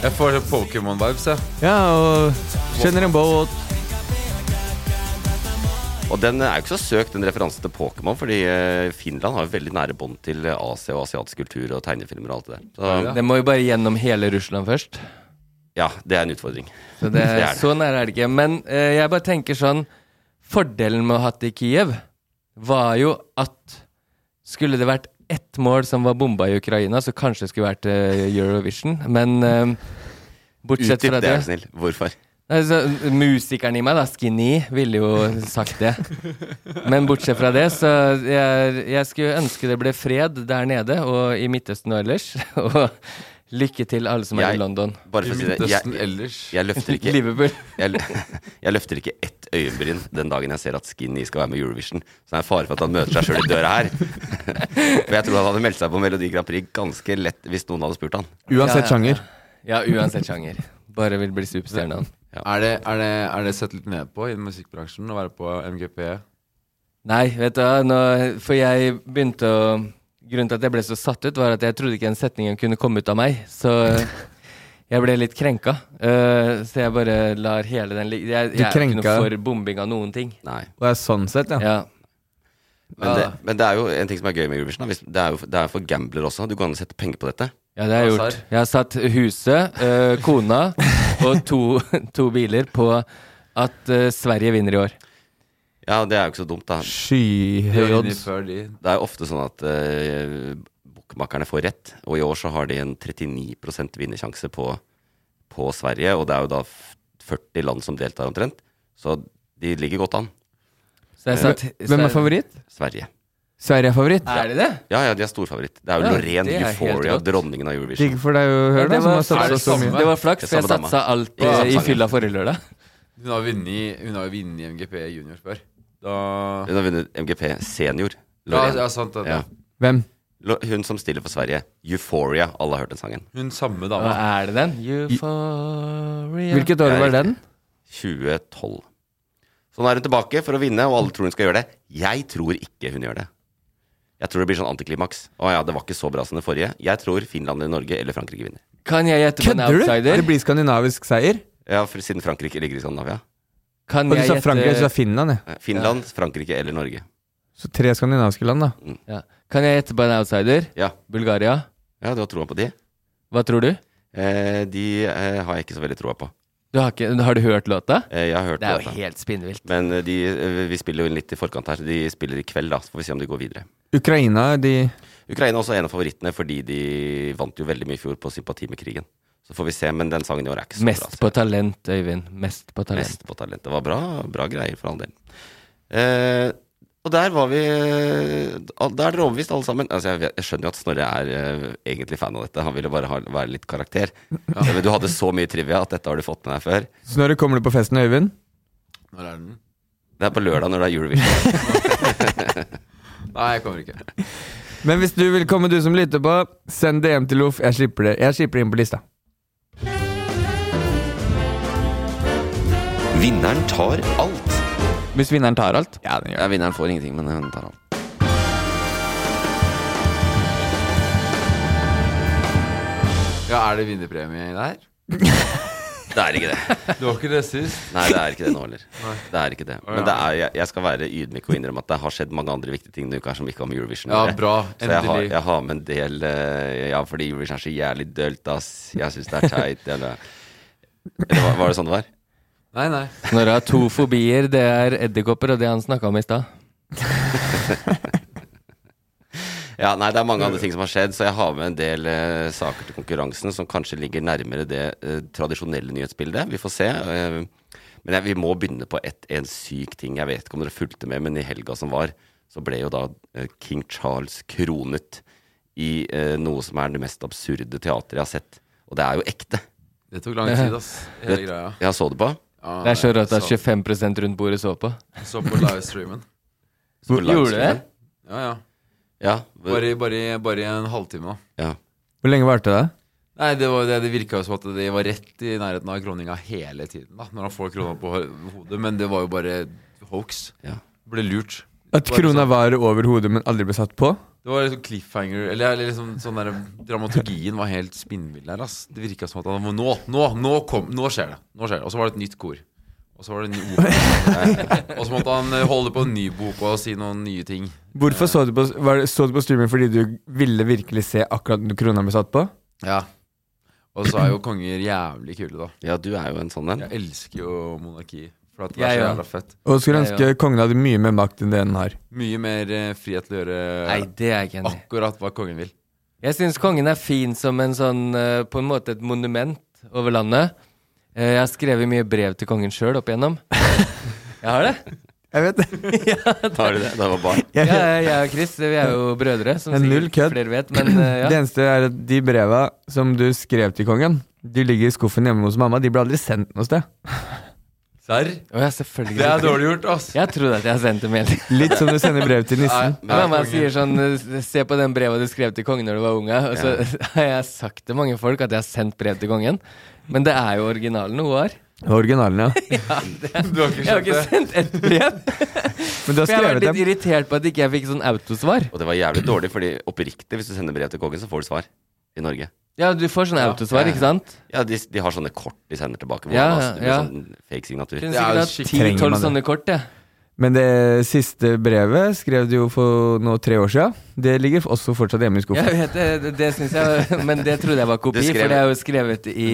[SPEAKER 4] Jeg får sånn Pokémon-vibes, jeg.
[SPEAKER 2] Ja, og kjenner en båt.
[SPEAKER 3] Og den er jo ikke så søkt, den referansen til Pokémon, fordi eh, Finland har jo veldig nære bånd til eh, Asia og asiatisk kultur og tegnefilmer og alt det der. Så
[SPEAKER 5] Det må jo bare gjennom hele Russland først.
[SPEAKER 3] ja, det er en utfordring.
[SPEAKER 5] Så, det,
[SPEAKER 3] Det er det.
[SPEAKER 5] så nære er det ikke. Men eh, jeg bare tenker sånn Fordelen med å ha hatt det i Kiev var jo at skulle det vært ett mål som var bomba i Ukraina, så kanskje det skulle vært eh, Eurovision. Men eh, bortsett
[SPEAKER 3] Utdyp
[SPEAKER 5] fra
[SPEAKER 3] det, altså.
[SPEAKER 5] det
[SPEAKER 3] er du snill. Hvorfor?
[SPEAKER 5] Nei, så Altså, Musikeren i meg, da, Skinny, ville jo sagt det. Men bortsett fra det, så jeg, jeg skulle ønske det ble fred der nede og i Midtøsten og ellers. Og lykke til alle som er
[SPEAKER 3] Jeg-
[SPEAKER 5] i London.
[SPEAKER 3] Bare
[SPEAKER 4] I
[SPEAKER 3] for å si det.
[SPEAKER 4] Midtøsten
[SPEAKER 3] Jeg,
[SPEAKER 4] ellers.
[SPEAKER 3] jeg, løfter ikke,
[SPEAKER 5] Liverpool.
[SPEAKER 3] jeg, lø- jeg løfter ikke ett øyebryn den dagen jeg ser at Skinny skal være med i Eurovision. Så det er en fare for at han møter seg sjøl i døra her. For jeg tror han hadde meldt seg på Melodi Grand Prix ganske lett hvis noen hadde spurt han.
[SPEAKER 2] Uansett
[SPEAKER 5] Ja, ja, ja.
[SPEAKER 2] sjanger.
[SPEAKER 5] Ja, uansett sjanger. Bare vil bli superstjerne. han.
[SPEAKER 4] Er, det, er, det, er det sett litt ned på i musikkbransjen å være på MGP?
[SPEAKER 5] Nei, vet du hva, nå, for jeg begynte å Grunnen til at jeg ble så satt ut, var at jeg trodde ikke den setningen kunne komme ut av meg. Så eh, jeg ble litt krenka. Eh, så jeg bare lar hele den ligge. Jeg,
[SPEAKER 2] Du
[SPEAKER 5] jeg er ikke noe
[SPEAKER 2] krenka?
[SPEAKER 5] for bombing av noen ting.
[SPEAKER 3] Nei.
[SPEAKER 2] Og er sånn sett, ja.
[SPEAKER 5] Ja.
[SPEAKER 3] Men, det, men det er jo en ting som er gøy med Eurovision. Da. Hvis- Det er jo det er for gambler også. Du kan sette penger på dette.
[SPEAKER 5] Ja, det har jeg
[SPEAKER 4] Hasard.
[SPEAKER 5] gjort. Jeg har satt huset, eh, kona og to, to biler på at eh, Sverige vinner i år.
[SPEAKER 3] Ja, det er jo ikke så dumt, da.
[SPEAKER 4] De var
[SPEAKER 2] Skyhøye
[SPEAKER 4] inne
[SPEAKER 2] odds.
[SPEAKER 4] Før de.
[SPEAKER 3] Det er jo ofte sånn at uh, bokmakerne får rett, og i år så har de en 39 vinnersjanse på, på Sverige, og det er jo da f- 40 land som deltar omtrent, så de ligger godt an,
[SPEAKER 5] Så jeg satt,
[SPEAKER 2] Hvem er favoritt?
[SPEAKER 3] Sverige.
[SPEAKER 2] Sverige er favoritt.
[SPEAKER 5] Er det det?
[SPEAKER 3] Ja, ja, de er storfavoritt. Det er jo
[SPEAKER 5] Ja,
[SPEAKER 3] Loreen,
[SPEAKER 5] det er helt
[SPEAKER 3] Euphoria,
[SPEAKER 5] rått.
[SPEAKER 3] dronningen av Eurovision.
[SPEAKER 2] Digg for deg å høre, da,
[SPEAKER 5] det,
[SPEAKER 2] som
[SPEAKER 5] var,
[SPEAKER 2] har satsa så mye.
[SPEAKER 5] det var flaks,
[SPEAKER 3] Det
[SPEAKER 5] for
[SPEAKER 3] er
[SPEAKER 5] jeg
[SPEAKER 3] samme dama.
[SPEAKER 5] satsa alt
[SPEAKER 3] Ikke
[SPEAKER 5] eh, i
[SPEAKER 3] samme
[SPEAKER 5] fylla forrige lørdag.
[SPEAKER 4] Hun har vunnet hun har vunnet i MGP junior før. Da
[SPEAKER 3] Hun har vunnet MGP senior.
[SPEAKER 4] Ja,
[SPEAKER 3] Loreen.
[SPEAKER 4] ja sant. Det,
[SPEAKER 3] Ja.
[SPEAKER 2] Hvem?
[SPEAKER 3] Lo- Hun som stiller for Sverige. Euphoria. Alle har hørt den sangen.
[SPEAKER 4] Hun samme
[SPEAKER 5] Hva
[SPEAKER 4] dama.
[SPEAKER 5] er det den? Euphoria
[SPEAKER 2] Hvilket år
[SPEAKER 3] Ja,
[SPEAKER 2] var den?
[SPEAKER 3] 2012. Så nå er hun tilbake for å vinne, og alle tror hun skal gjøre det. Jeg tror ikke hun gjør det. Jeg tror det blir sånn antiklimaks. Å ja, det var ikke så bra som det forrige. Jeg tror Finland eller Norge eller Frankrike vinner.
[SPEAKER 5] Kan jeg gjette på en
[SPEAKER 2] Kødder du?
[SPEAKER 5] outsider?
[SPEAKER 2] Det blir skandinavisk seier.
[SPEAKER 3] Ja, for siden Frankrike ligger i Skandinavia.
[SPEAKER 5] Kan
[SPEAKER 2] Og du
[SPEAKER 5] jeg
[SPEAKER 2] sa
[SPEAKER 5] gjette-
[SPEAKER 2] Frankrike, du sa Finland, ja.
[SPEAKER 3] Eh, Finland, Frankrike eller Norge.
[SPEAKER 2] Så tre skandinaviske land, da.
[SPEAKER 5] ja. Kan jeg gjette på en outsider?
[SPEAKER 3] Ja,
[SPEAKER 5] Bulgaria?
[SPEAKER 3] ja du har troa på de.
[SPEAKER 5] Hva tror du?
[SPEAKER 3] Eh, de eh, har jeg ikke så veldig troa på.
[SPEAKER 5] Du har, ikke, har du hørt låta?
[SPEAKER 3] Eh, jeg har hørt
[SPEAKER 5] Det er
[SPEAKER 3] låta.
[SPEAKER 5] jo helt spinnvilt.
[SPEAKER 3] Men eh, de, eh, vi spiller jo inn litt i forkant her. De spiller i kveld, da. Så får vi se om de går videre.
[SPEAKER 2] Ukraina, de
[SPEAKER 3] Ukraina er også en av favorittene, fordi de vant jo veldig mye i fjor på sympati med krigen. Så får vi se, men den sangen i år er ikke så bra. altså.
[SPEAKER 5] Mest på talent, Øyvind. Mest på talent.
[SPEAKER 3] Mest på talent. Det var bra, bra greier, for all del. Eh, og der var vi eh, al- Da er dere overbevist, alle sammen. Altså, jeg, vet- jeg skjønner jo at Snorre er eh, egentlig fan av dette. Han ville bare ha, være litt karakter. Men du hadde så mye trivia at dette har du fått med deg før.
[SPEAKER 2] Så når det kommer du på festen, Øyvind?
[SPEAKER 4] Når er den?
[SPEAKER 3] Det er på lørdag når det er Eurovision.
[SPEAKER 4] Nei, jeg kommer ikke.
[SPEAKER 2] Men hvis du vil komme, du som lytter på, send DM til Loff. Jeg slipper det Jeg slipper det inn på lista.
[SPEAKER 3] Vinneren tar alt.
[SPEAKER 5] Hvis vinneren tar alt?
[SPEAKER 2] Ja, den
[SPEAKER 3] Ja, vinneren får ingenting, men hun tar alt.
[SPEAKER 4] Ja, Er det vinnerpremie i det her?
[SPEAKER 3] Det er ikke det.
[SPEAKER 4] Det var ikke det sist.
[SPEAKER 3] Nei, det er ikke det nå heller. Det er ikke det. Men det er, jeg, jeg skal være ydmyk og innrømme at det har skjedd mange andre viktige ting denne uka som ikke har med Eurovision å
[SPEAKER 4] Ja,
[SPEAKER 3] gjøre.
[SPEAKER 4] bra.
[SPEAKER 3] Så jeg har,
[SPEAKER 4] Endelig.
[SPEAKER 3] jeg har med en del eh, Ja, fordi Eurovision er så jævlig dølt, ass. Jeg syns det er teit. Eller, eller var, var det sånn det var?
[SPEAKER 4] Nei, nei.
[SPEAKER 5] Når jeg har to fobier, det er edderkopper og det han snakka om i stad.
[SPEAKER 3] Ja, nei, Det er mange andre ting som har skjedd, så jeg har med en del eh, saker til konkurransen som kanskje ligger nærmere det eh, tradisjonelle nyhetsbildet. Vi får se. eh, men jeg, vi må begynne på et, en syk ting. Jeg vet ikke om dere fulgte med, men i helga som var, så ble jo da eh, King Charles kronet i eh, noe som er det mest absurde teatret jeg har sett. Og det er jo ekte.
[SPEAKER 4] Det tok lang tid, ass. Hele
[SPEAKER 3] Det-
[SPEAKER 4] greia.
[SPEAKER 3] Ja, så du på?
[SPEAKER 4] Ja,
[SPEAKER 5] Det er så rått at
[SPEAKER 4] jeg
[SPEAKER 5] 25 rundt bordet så på.
[SPEAKER 4] så, så på livestreamen.
[SPEAKER 3] Så på
[SPEAKER 5] Gjorde du det?
[SPEAKER 3] livestreamen.
[SPEAKER 4] Ja, ja.
[SPEAKER 3] Ja.
[SPEAKER 4] Bare, i- bare, i- bare i en halvtime, da.
[SPEAKER 3] ja.
[SPEAKER 2] Hvor lenge varte det?
[SPEAKER 4] Nei, det, var, det, det virka jo som at de var rett i nærheten av kroninga hele tiden. da Når han får krona på ho- hodet. Men det var jo bare hoax.
[SPEAKER 3] Ja.
[SPEAKER 4] Ble lurt.
[SPEAKER 2] At krona
[SPEAKER 5] sånn.
[SPEAKER 2] var over hodet, men aldri ble satt på?
[SPEAKER 4] Det var liksom cliffhanger Eller, eller liksom sånn der Dramaturgien var helt spinnvill her, ass. Det virka som at han var Nå! Nå! Nå, kom, nå skjer det! Nå skjer det Og så var det et nytt kor. Og så var det en ny opera. Og så måtte han eh, holde på en ny bok og si noen nye ting.
[SPEAKER 2] Hvorfor så du på, var, det- så du på streaming fordi du ville virkelig se akkurat når krona ble satt på?
[SPEAKER 4] Ja. Og så er jo konger jævlig kule, da.
[SPEAKER 3] ja, du er jo en sånn en.
[SPEAKER 4] Jeg elsker jo monarki. For at det
[SPEAKER 5] Jeg
[SPEAKER 4] er så
[SPEAKER 5] òg.
[SPEAKER 4] jævla fett.
[SPEAKER 2] Og skulle
[SPEAKER 5] Ja, ja.
[SPEAKER 2] ønske kongen hadde mye mer makt enn det den har.
[SPEAKER 4] Mye mer eh, frihet til å gjøre
[SPEAKER 5] Nei, det er jeg ikke enig i.
[SPEAKER 4] akkurat hva kongen vil.
[SPEAKER 5] Jeg syns kongen er fin som en sånn eh, På en måte et monument over landet. Eh, Jeg har skrevet mye brev til kongen sjøl opp igjennom. Jeg har det.
[SPEAKER 2] Jeg vet det.
[SPEAKER 3] Har du det? Det var barn.
[SPEAKER 5] Ja, jeg, jeg og Chris vi er jo brødre, som
[SPEAKER 2] Det er null
[SPEAKER 5] sikkert
[SPEAKER 2] kødd.
[SPEAKER 5] flere vet. Men eh,
[SPEAKER 2] Det
[SPEAKER 5] ja.
[SPEAKER 2] eneste er at de breva som du skrev til kongen, de ligger i skuffen hjemme hos mamma. De ble aldri sendt noe sted.
[SPEAKER 4] Serr?
[SPEAKER 5] Å, ja, selvfølgelig.
[SPEAKER 4] Det er dårlig gjort, ass.
[SPEAKER 5] Jeg trodde at jeg sendte melding.
[SPEAKER 2] Litt som du sender brev til nissen.
[SPEAKER 4] Nei, men-
[SPEAKER 5] Mamma sier sånn eh, Se på den brevet du skrev til kongen når du var unge. Og så har jeg sagt til mange folk at jeg har sendt brev til kongen. Men det er jo originalen hun har.
[SPEAKER 2] Originalen, ja.
[SPEAKER 4] Du har ikke
[SPEAKER 5] Jeg
[SPEAKER 4] skjønt
[SPEAKER 5] har ikke
[SPEAKER 4] det?
[SPEAKER 5] sendt ett
[SPEAKER 2] Men
[SPEAKER 5] brev.
[SPEAKER 2] du har
[SPEAKER 5] For jeg har
[SPEAKER 2] skrevet
[SPEAKER 5] vært litt
[SPEAKER 2] dem.
[SPEAKER 5] irritert på at ikke jeg fikk sånn autosvar.
[SPEAKER 3] Og det var jævlig dårlig, fordi oppriktig, hvis du sender brev til kongen, så får du svar i Norge.
[SPEAKER 5] Ja, du får sånn
[SPEAKER 4] Ja,
[SPEAKER 5] autosvar,
[SPEAKER 3] ja,
[SPEAKER 5] ikke sant?
[SPEAKER 3] Ja, de, de har sånne kort de sender tilbake. hvor
[SPEAKER 5] Ja,
[SPEAKER 3] man- altså, det blir
[SPEAKER 5] ja.
[SPEAKER 3] sånn fake signatur.
[SPEAKER 5] Kunne
[SPEAKER 4] Det er jo
[SPEAKER 5] sikkert
[SPEAKER 4] skikkelig-
[SPEAKER 5] hatt ti-tolv
[SPEAKER 2] Trenger man
[SPEAKER 5] sånne kort, jeg.
[SPEAKER 2] Men det siste brevet skrev du jo for nå tre år siden. Det ligger også fortsatt hjemme i
[SPEAKER 5] Jeg
[SPEAKER 2] skuffen.
[SPEAKER 5] vet det, det- det syns jeg Men det trodde jeg var kopi,
[SPEAKER 3] Du skrev-
[SPEAKER 5] for det er jo skrevet i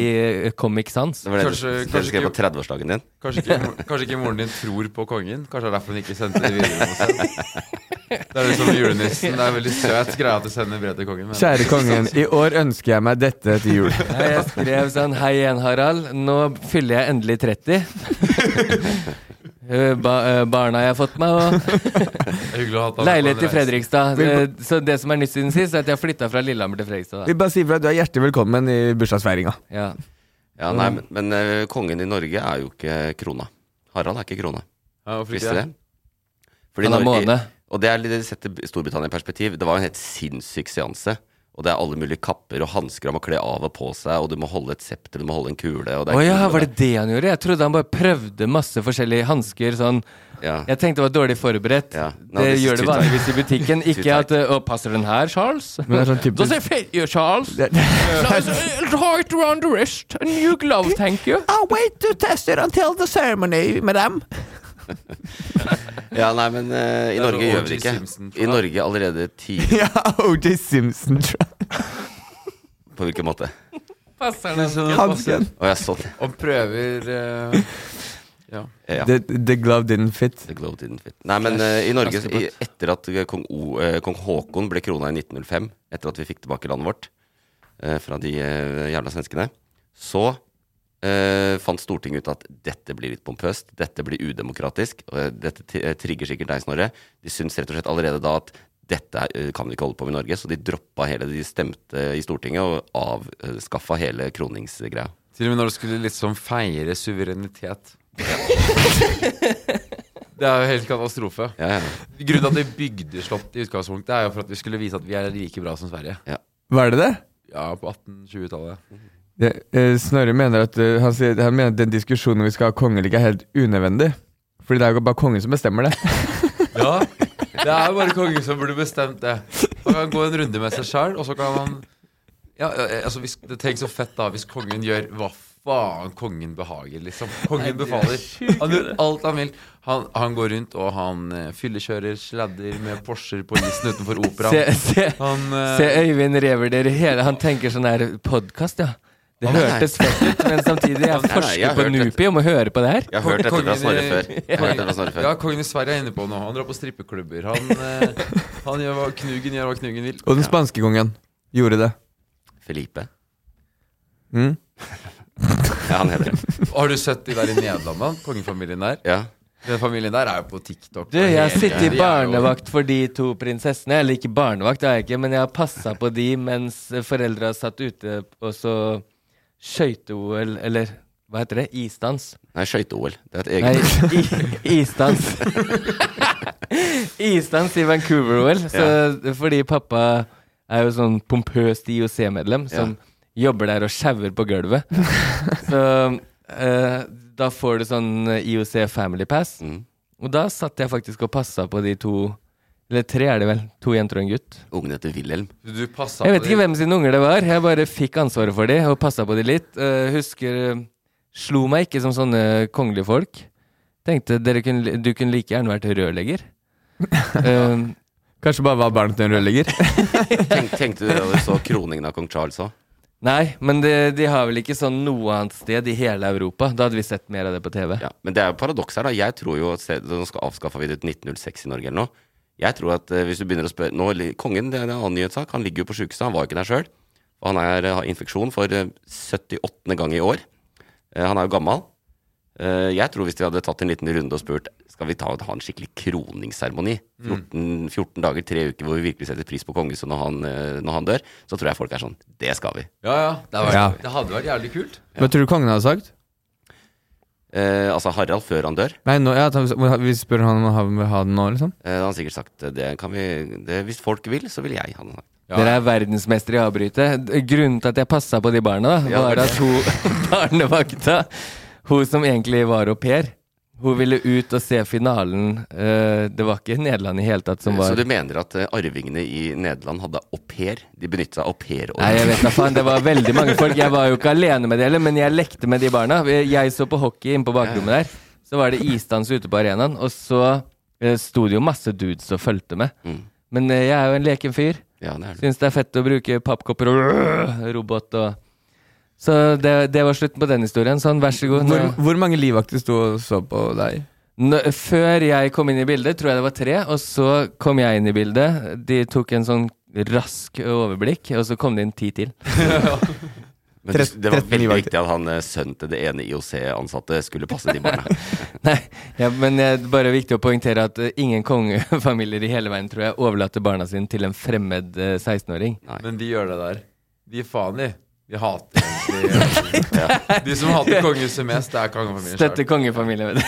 [SPEAKER 5] eh, Comic Sans.
[SPEAKER 3] Det var det du-
[SPEAKER 4] Kanskje-
[SPEAKER 3] det du
[SPEAKER 4] kanskje
[SPEAKER 3] skrev
[SPEAKER 4] ikke-
[SPEAKER 3] på 30-årsdagen din.
[SPEAKER 4] Kanskje ikke, mo- kanskje ikke moren din tror på kongen? Kanskje det er derfor hun ikke sendte det videre? hos henne. Det er litt som med julenissen. Det er veldig søt greie at du sender brev til kongen. Men
[SPEAKER 2] Kjære kongen, i år ønsker jeg meg dette til jul.
[SPEAKER 5] Ja, Jeg skrev sånn Hei igjen, Harald. Nå fyller jeg endelig 30. Eh, ba eh, barna jeg har fått meg, og
[SPEAKER 4] det er hyggelig å ha hatt han
[SPEAKER 5] leilighet
[SPEAKER 4] på
[SPEAKER 5] til
[SPEAKER 4] en reise.
[SPEAKER 5] Fredrikstad. Eh, Så det som er nytt siden sist, er at jeg har flytta fra Lillehammer til Fredrikstad.
[SPEAKER 2] Vi
[SPEAKER 5] Da.
[SPEAKER 2] bare sier fra at du er hjertelig velkommen i bursdagsfeiringa.
[SPEAKER 5] Ja.
[SPEAKER 3] Ja, nei,
[SPEAKER 5] Mm.
[SPEAKER 3] men, men eh, kongen i Norge er jo ikke krona. Harald er ikke krona.
[SPEAKER 4] Ja, hvorfor
[SPEAKER 3] Visste du
[SPEAKER 4] ikke det?
[SPEAKER 3] det? Fordi
[SPEAKER 5] Han har
[SPEAKER 3] Norge-
[SPEAKER 5] måne.
[SPEAKER 3] Og det er litt, det setter Storbritannia i perspektiv. Det var en helt sinnssyk seanse. Og det er alle mulige kapper og hansker han må kle av og på seg, og du må holde et septer, du må holde en kule. Og det
[SPEAKER 5] Å
[SPEAKER 3] er
[SPEAKER 5] ja,
[SPEAKER 3] kul, og
[SPEAKER 5] var det det han gjorde? Jeg trodde han bare prøvde masse forskjellige hansker sånn.
[SPEAKER 3] ja.
[SPEAKER 5] Jeg tenkte det var dårlig forberedt.
[SPEAKER 3] Ja. No,
[SPEAKER 5] det
[SPEAKER 3] this is
[SPEAKER 5] gjør det
[SPEAKER 3] too tight.
[SPEAKER 5] vanligvis i butikken.
[SPEAKER 3] Too
[SPEAKER 5] Ikke at eh, Å, passer den her, Charles?
[SPEAKER 2] Men det er sånn
[SPEAKER 5] Does
[SPEAKER 2] typisk
[SPEAKER 5] it fit you, Charles?
[SPEAKER 2] Det-
[SPEAKER 5] No, it's, uh, Right around the wrist. A new glove, thank you.
[SPEAKER 2] I'll wait to test it until the ceremony, madam.
[SPEAKER 3] ja, nei, men eh, i
[SPEAKER 4] er
[SPEAKER 3] Norge
[SPEAKER 4] sånn
[SPEAKER 3] gjør vi det
[SPEAKER 4] O.J. Simpson,
[SPEAKER 3] ikke.
[SPEAKER 4] tror jeg.
[SPEAKER 3] I Norge allerede tidlig
[SPEAKER 2] ja, OJ Simpson. tror jeg.
[SPEAKER 3] På hvilken måte?
[SPEAKER 5] Passer
[SPEAKER 4] Men
[SPEAKER 5] den?
[SPEAKER 4] så-
[SPEAKER 2] Hansken.
[SPEAKER 3] Å ja, sånn.
[SPEAKER 4] Og prøver eh, Ja.
[SPEAKER 3] Ja.
[SPEAKER 2] The, the glove didn't fit.
[SPEAKER 3] The globe didn't fit. Nei, men eh, i Norge, i, etter at eh, kong, o, eh, kong Haakon ble krona i 1905, etter at vi fikk tilbake landet vårt eh, fra de eh, jævla svenskene, så eh, fant Stortinget ut at dette blir litt pompøst, dette blir udemokratisk, og eh, dette ti- eh, trigger sikkert deg, Snorre. De syns rett og slett allerede da at dette er- eh, kan vi ikke holde på med i Norge, så de droppa hele De stemte i Stortinget og avskaffa hele kroningsgreia.
[SPEAKER 4] Til og med når du skulle liksom feire suverenitet. Det er jo helt katastrofe.
[SPEAKER 3] Ja, ja,
[SPEAKER 4] Grunnen til at vi bygde slott i utgangspunktet, er jo for at vi skulle vise at vi er like bra som Sverige.
[SPEAKER 2] Var det det?
[SPEAKER 4] Ja, på 1820-tallet.
[SPEAKER 2] det eh, Snorre mener at eh, han, sier, han mener at den diskusjonen vi skal ha kongelig, er helt unødvendig. Fordi det er jo bare kongen som bestemmer det.
[SPEAKER 4] Ja, det er jo bare kongen som burde bestemt det. Han kan gå en runde med seg sjøl, og så kan han ja, eh, altså hvis, det Tenk så fett, da, hvis kongen gjør hva faen kongen behager, liksom. Kongen befaler. Han gjør alt han vil. Han, han går rundt, og han eh, fyllekjører sladder med Porscher på isen utenfor
[SPEAKER 5] Se,
[SPEAKER 4] operaen.
[SPEAKER 5] se,
[SPEAKER 4] Han eh,
[SPEAKER 5] se Øyvind revurderer hele Han tenker sånn her podkast, ja.
[SPEAKER 3] Å,
[SPEAKER 5] Det
[SPEAKER 3] nei, nei.
[SPEAKER 5] hørtes fett ut, men samtidig
[SPEAKER 3] Nei, nei, jeg
[SPEAKER 5] jeg
[SPEAKER 3] har
[SPEAKER 5] forsker på
[SPEAKER 3] hørt
[SPEAKER 5] Nupi om å høre på det her.
[SPEAKER 3] Jeg har hørt dette fra
[SPEAKER 4] Kongen i-
[SPEAKER 3] Snorre før. Jeg har hørt dette fra Snorre før.
[SPEAKER 4] Ja, kongen i Sverige er inne på nå. Han drar på strippeklubber. Han, eh, han gjør hva Knugen gjør hva Knugen vil.
[SPEAKER 2] Og den spanske kongen gjorde det.
[SPEAKER 3] Felipe.
[SPEAKER 2] Mm.
[SPEAKER 3] Ja, han heter det.
[SPEAKER 4] Har du sett de der i Nederland, da? Kongefamilien der?
[SPEAKER 3] Ja.
[SPEAKER 4] Den familien der er jo på TikTok.
[SPEAKER 5] Du, jeg sitter
[SPEAKER 4] De er
[SPEAKER 5] i
[SPEAKER 4] jo-
[SPEAKER 5] barnevakt for de to prinsessene. Eller ikke barnevakt, det er jeg ikke, men jeg har passa på de mens foreldra satt ute og så skøyte-OL, eller hva heter det? Isdans.
[SPEAKER 3] Nei, skøyte-OL. Det er et
[SPEAKER 5] Nei,
[SPEAKER 3] eget
[SPEAKER 5] i, isdans. isdans i Vancouver-OL. så- Fordi pappa er jo sånn pompøst IOC-medlem som jobber der og sjauer på gulvet. så eh, da får du sånn IOC Family Pass.
[SPEAKER 3] Mm.
[SPEAKER 5] Og da satt jeg faktisk og passa på de to Eller tre er det vel. To jenter og en gutt.
[SPEAKER 3] Ungen heter Wilhelm.
[SPEAKER 4] Du passet
[SPEAKER 5] Jeg
[SPEAKER 4] på
[SPEAKER 5] vet ikke
[SPEAKER 4] de-
[SPEAKER 5] hvem sine unger det var. Jeg bare fikk ansvaret for de og passa på de litt. Eh, husker eh, Slo meg ikke som sånne kongelige folk. Tenkte dere kunne, du kunne like gjerne vært rørlegger. Eh,
[SPEAKER 2] Kanskje bare var barnet til en rørlegger.
[SPEAKER 3] Tenk, tenkte du da du så kroningen av kong Charles òg?
[SPEAKER 5] nei, men de, de har vel ikke sånn noe annet sted i hele Europa. Da hadde vi sett mer av det på TV.
[SPEAKER 3] Ja. Men det er jo paradoks her, da. Jeg tror jo at se- Nå skal avskaffa vi det ut 1906 i Norge eller noe. Jeg tror at eh, hvis du begynner å spørre Nå, li- Kongen det er en annen nyhetssak. Han ligger jo på sjukehuset. Han var jo ikke der sjøl. Han er, har infeksjon for eh, 78. gang i år. Eh, Han er jo gammel. Eh, Jeg tror hvis de hadde tatt en liten runde og spurt Skal vi ta, ha en skikkelig kroningsseremoni 14, 14 dager, tre uker hvor vi virkelig setter pris på kongehuset når, han, eh, når han dør, så tror jeg folk er sånn Det skal vi.
[SPEAKER 4] Ja, ja. Det, hadde vært,
[SPEAKER 2] Ja.
[SPEAKER 4] det hadde vært jævlig kult.
[SPEAKER 2] Hva tror du kongen hadde sagt?
[SPEAKER 3] Eh, altså Harald før han dør.
[SPEAKER 2] Nei, nå, ja, at han- Vi spør han om han vil ha den nå, liksom.
[SPEAKER 3] Eh, han har sikkert sagt eh, det kan vi det, Hvis folk vil, så vil jeg. Han har sagt.
[SPEAKER 4] Ja.
[SPEAKER 5] Dere er verdensmestere i å avbryte. D- Grunnen til at jeg passa på de barna, da,
[SPEAKER 3] Ja, det
[SPEAKER 5] var
[SPEAKER 3] var
[SPEAKER 5] at hun barnevakta, hun som egentlig var au pair, hun ville ut og se finalen. Eh, Det var ikke Nederland i hele tatt som var
[SPEAKER 3] Så du mener at eh, arvingene i Nederland hadde au pair? De benyttet seg av au pair?
[SPEAKER 5] Nei, jeg vet da faen. Det var veldig mange folk. Jeg var jo ikke alene med det heller, men jeg lekte med de barna. Jeg så på hockey inne på bakrommet der. Så var det isdans ute på arenaen, og så eh, sto det jo masse dudes og fulgte med. Men eh, jeg er jo en leken fyr.
[SPEAKER 3] Ja, det er det.
[SPEAKER 5] Syns det er fett å bruke pappkopper og robot og Så det, det var slutten på den historien. Sånn, vær så god.
[SPEAKER 2] Hvor,
[SPEAKER 5] Nå,
[SPEAKER 2] hvor mange livvakter sto og så på deg?
[SPEAKER 5] nå, før jeg kom inn i bildet, tror jeg det var tre, og så kom jeg inn i bildet. De tok en sånn rask overblikk, og så kom det inn ti til.
[SPEAKER 3] Men det, det var
[SPEAKER 2] 13
[SPEAKER 3] veldig
[SPEAKER 2] livvakter.
[SPEAKER 3] viktig at han eh, sønnen til det ene IOC-ansatte skulle passe de barna.
[SPEAKER 5] Nei, ja, men eh, det er bare viktig å poengtere at eh, ingen kongefamilier i hele verden tror jeg overlater barna sine til en fremmed eh, 16-åring.
[SPEAKER 4] Men de gjør det der. De er faen i. De hater egentlig De som hater kongehuset mest, det er kongefamilien
[SPEAKER 5] Støtter
[SPEAKER 4] selv.
[SPEAKER 5] kongefamilien. vet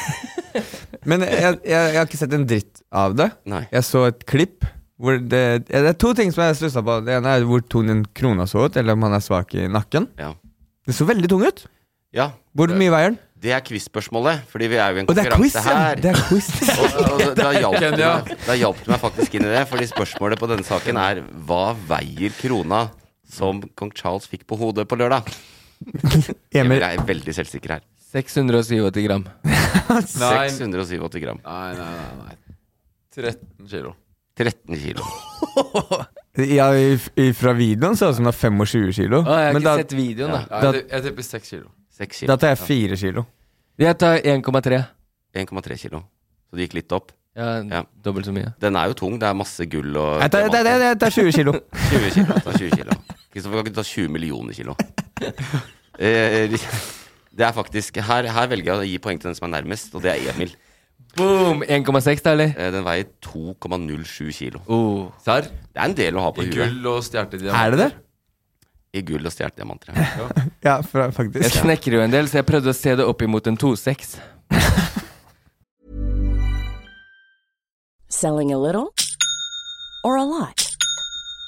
[SPEAKER 5] du.
[SPEAKER 2] Men jeg, jeg, jeg har ikke sett en dritt av det.
[SPEAKER 3] Nei.
[SPEAKER 2] Jeg så et klipp hvor det, ja, det er to ting som jeg stussa på. Det ene er hvor tung den krona så ut, eller om han er svak i nakken.
[SPEAKER 3] Ja.
[SPEAKER 2] Den så veldig tung ut.
[SPEAKER 3] ja.
[SPEAKER 2] Hvor mye veier den?
[SPEAKER 3] Det er quiz-spørsmålet, fordi vi er jo i en
[SPEAKER 2] Og det er quiz!
[SPEAKER 3] konkurranse
[SPEAKER 2] ja.
[SPEAKER 3] her.
[SPEAKER 2] Det er quiz.
[SPEAKER 3] Og, og da hjalp det
[SPEAKER 4] Kenya.
[SPEAKER 3] meg, da hjalp det meg faktisk inn i det, fordi spørsmålet på denne saken er hva veier krona som kong Charles fikk på hodet på lørdag?
[SPEAKER 2] Emil,
[SPEAKER 3] Emil er veldig selvsikker her.
[SPEAKER 5] 687 gram.
[SPEAKER 4] Nei,
[SPEAKER 3] 687 gram.
[SPEAKER 4] nei, nei, nei, nei. 13 kilo.
[SPEAKER 3] 13 kilo.
[SPEAKER 2] ja, if- fra videoen så ut som det sånn er 25 kilo.
[SPEAKER 5] Å, jeg har
[SPEAKER 2] Men
[SPEAKER 5] ikke
[SPEAKER 2] da,
[SPEAKER 5] sett videoen, da.
[SPEAKER 4] Nei,
[SPEAKER 2] Da-
[SPEAKER 4] jeg, jeg tipper 6 kilo.
[SPEAKER 3] 6
[SPEAKER 2] da
[SPEAKER 3] kilo.
[SPEAKER 2] tar jeg 4 kilo.
[SPEAKER 5] Jeg tar 1,3.
[SPEAKER 3] 1,3 kilo. Så det gikk litt opp.
[SPEAKER 5] Ja,
[SPEAKER 3] Ja.
[SPEAKER 5] Dobbelt så mye.
[SPEAKER 3] Den er jo tung. Det er masse gull og
[SPEAKER 2] Jeg tar, jeg, tar, jeg, tar, jeg tar 20 kilo.
[SPEAKER 3] 20 kilo. Ta 20 kilo. Kristoffer kan ikke ta 20 millioner kilo. Eh, Det er faktisk her, her velger jeg å gi poeng til den som er nærmest, og det er Emil.
[SPEAKER 5] Boom! 1,6, da, eller?
[SPEAKER 3] Eh, Den veier 2,07 kilo.
[SPEAKER 5] Oh.
[SPEAKER 4] Serr?
[SPEAKER 3] Det er en del å ha på
[SPEAKER 4] I
[SPEAKER 3] huet.
[SPEAKER 4] gull og
[SPEAKER 2] Er
[SPEAKER 4] stjertediamant.
[SPEAKER 2] det det?
[SPEAKER 3] I gull og stjålet diamanter. ja.
[SPEAKER 2] Ja, fra,
[SPEAKER 5] Jeg
[SPEAKER 2] faktisk.
[SPEAKER 5] snekrer jo en del, så jeg prøvde å se det opp imot en 2,6.
[SPEAKER 6] Selling a little or a lot?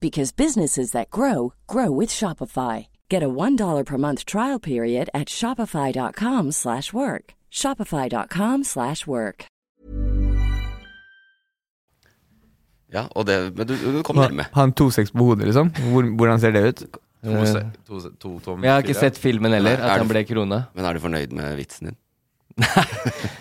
[SPEAKER 6] because businesses that grow grow with Shopify. Get a $1 per month trial period at shopify.com slash work. Shopify.com slash work.
[SPEAKER 3] Ja, og det, men du, du kom
[SPEAKER 2] Han,
[SPEAKER 3] nærme.
[SPEAKER 2] han 2-6 på hodet, liksom? Hvor, hvordan ser det ut?
[SPEAKER 4] To, se, to, se- to tom
[SPEAKER 5] Eh. Jeg har ikke
[SPEAKER 4] fire.
[SPEAKER 5] sett filmen heller,
[SPEAKER 3] Nei, er
[SPEAKER 5] at han
[SPEAKER 3] det-
[SPEAKER 5] ble krona.
[SPEAKER 3] Men er du fornøyd med vitsen din?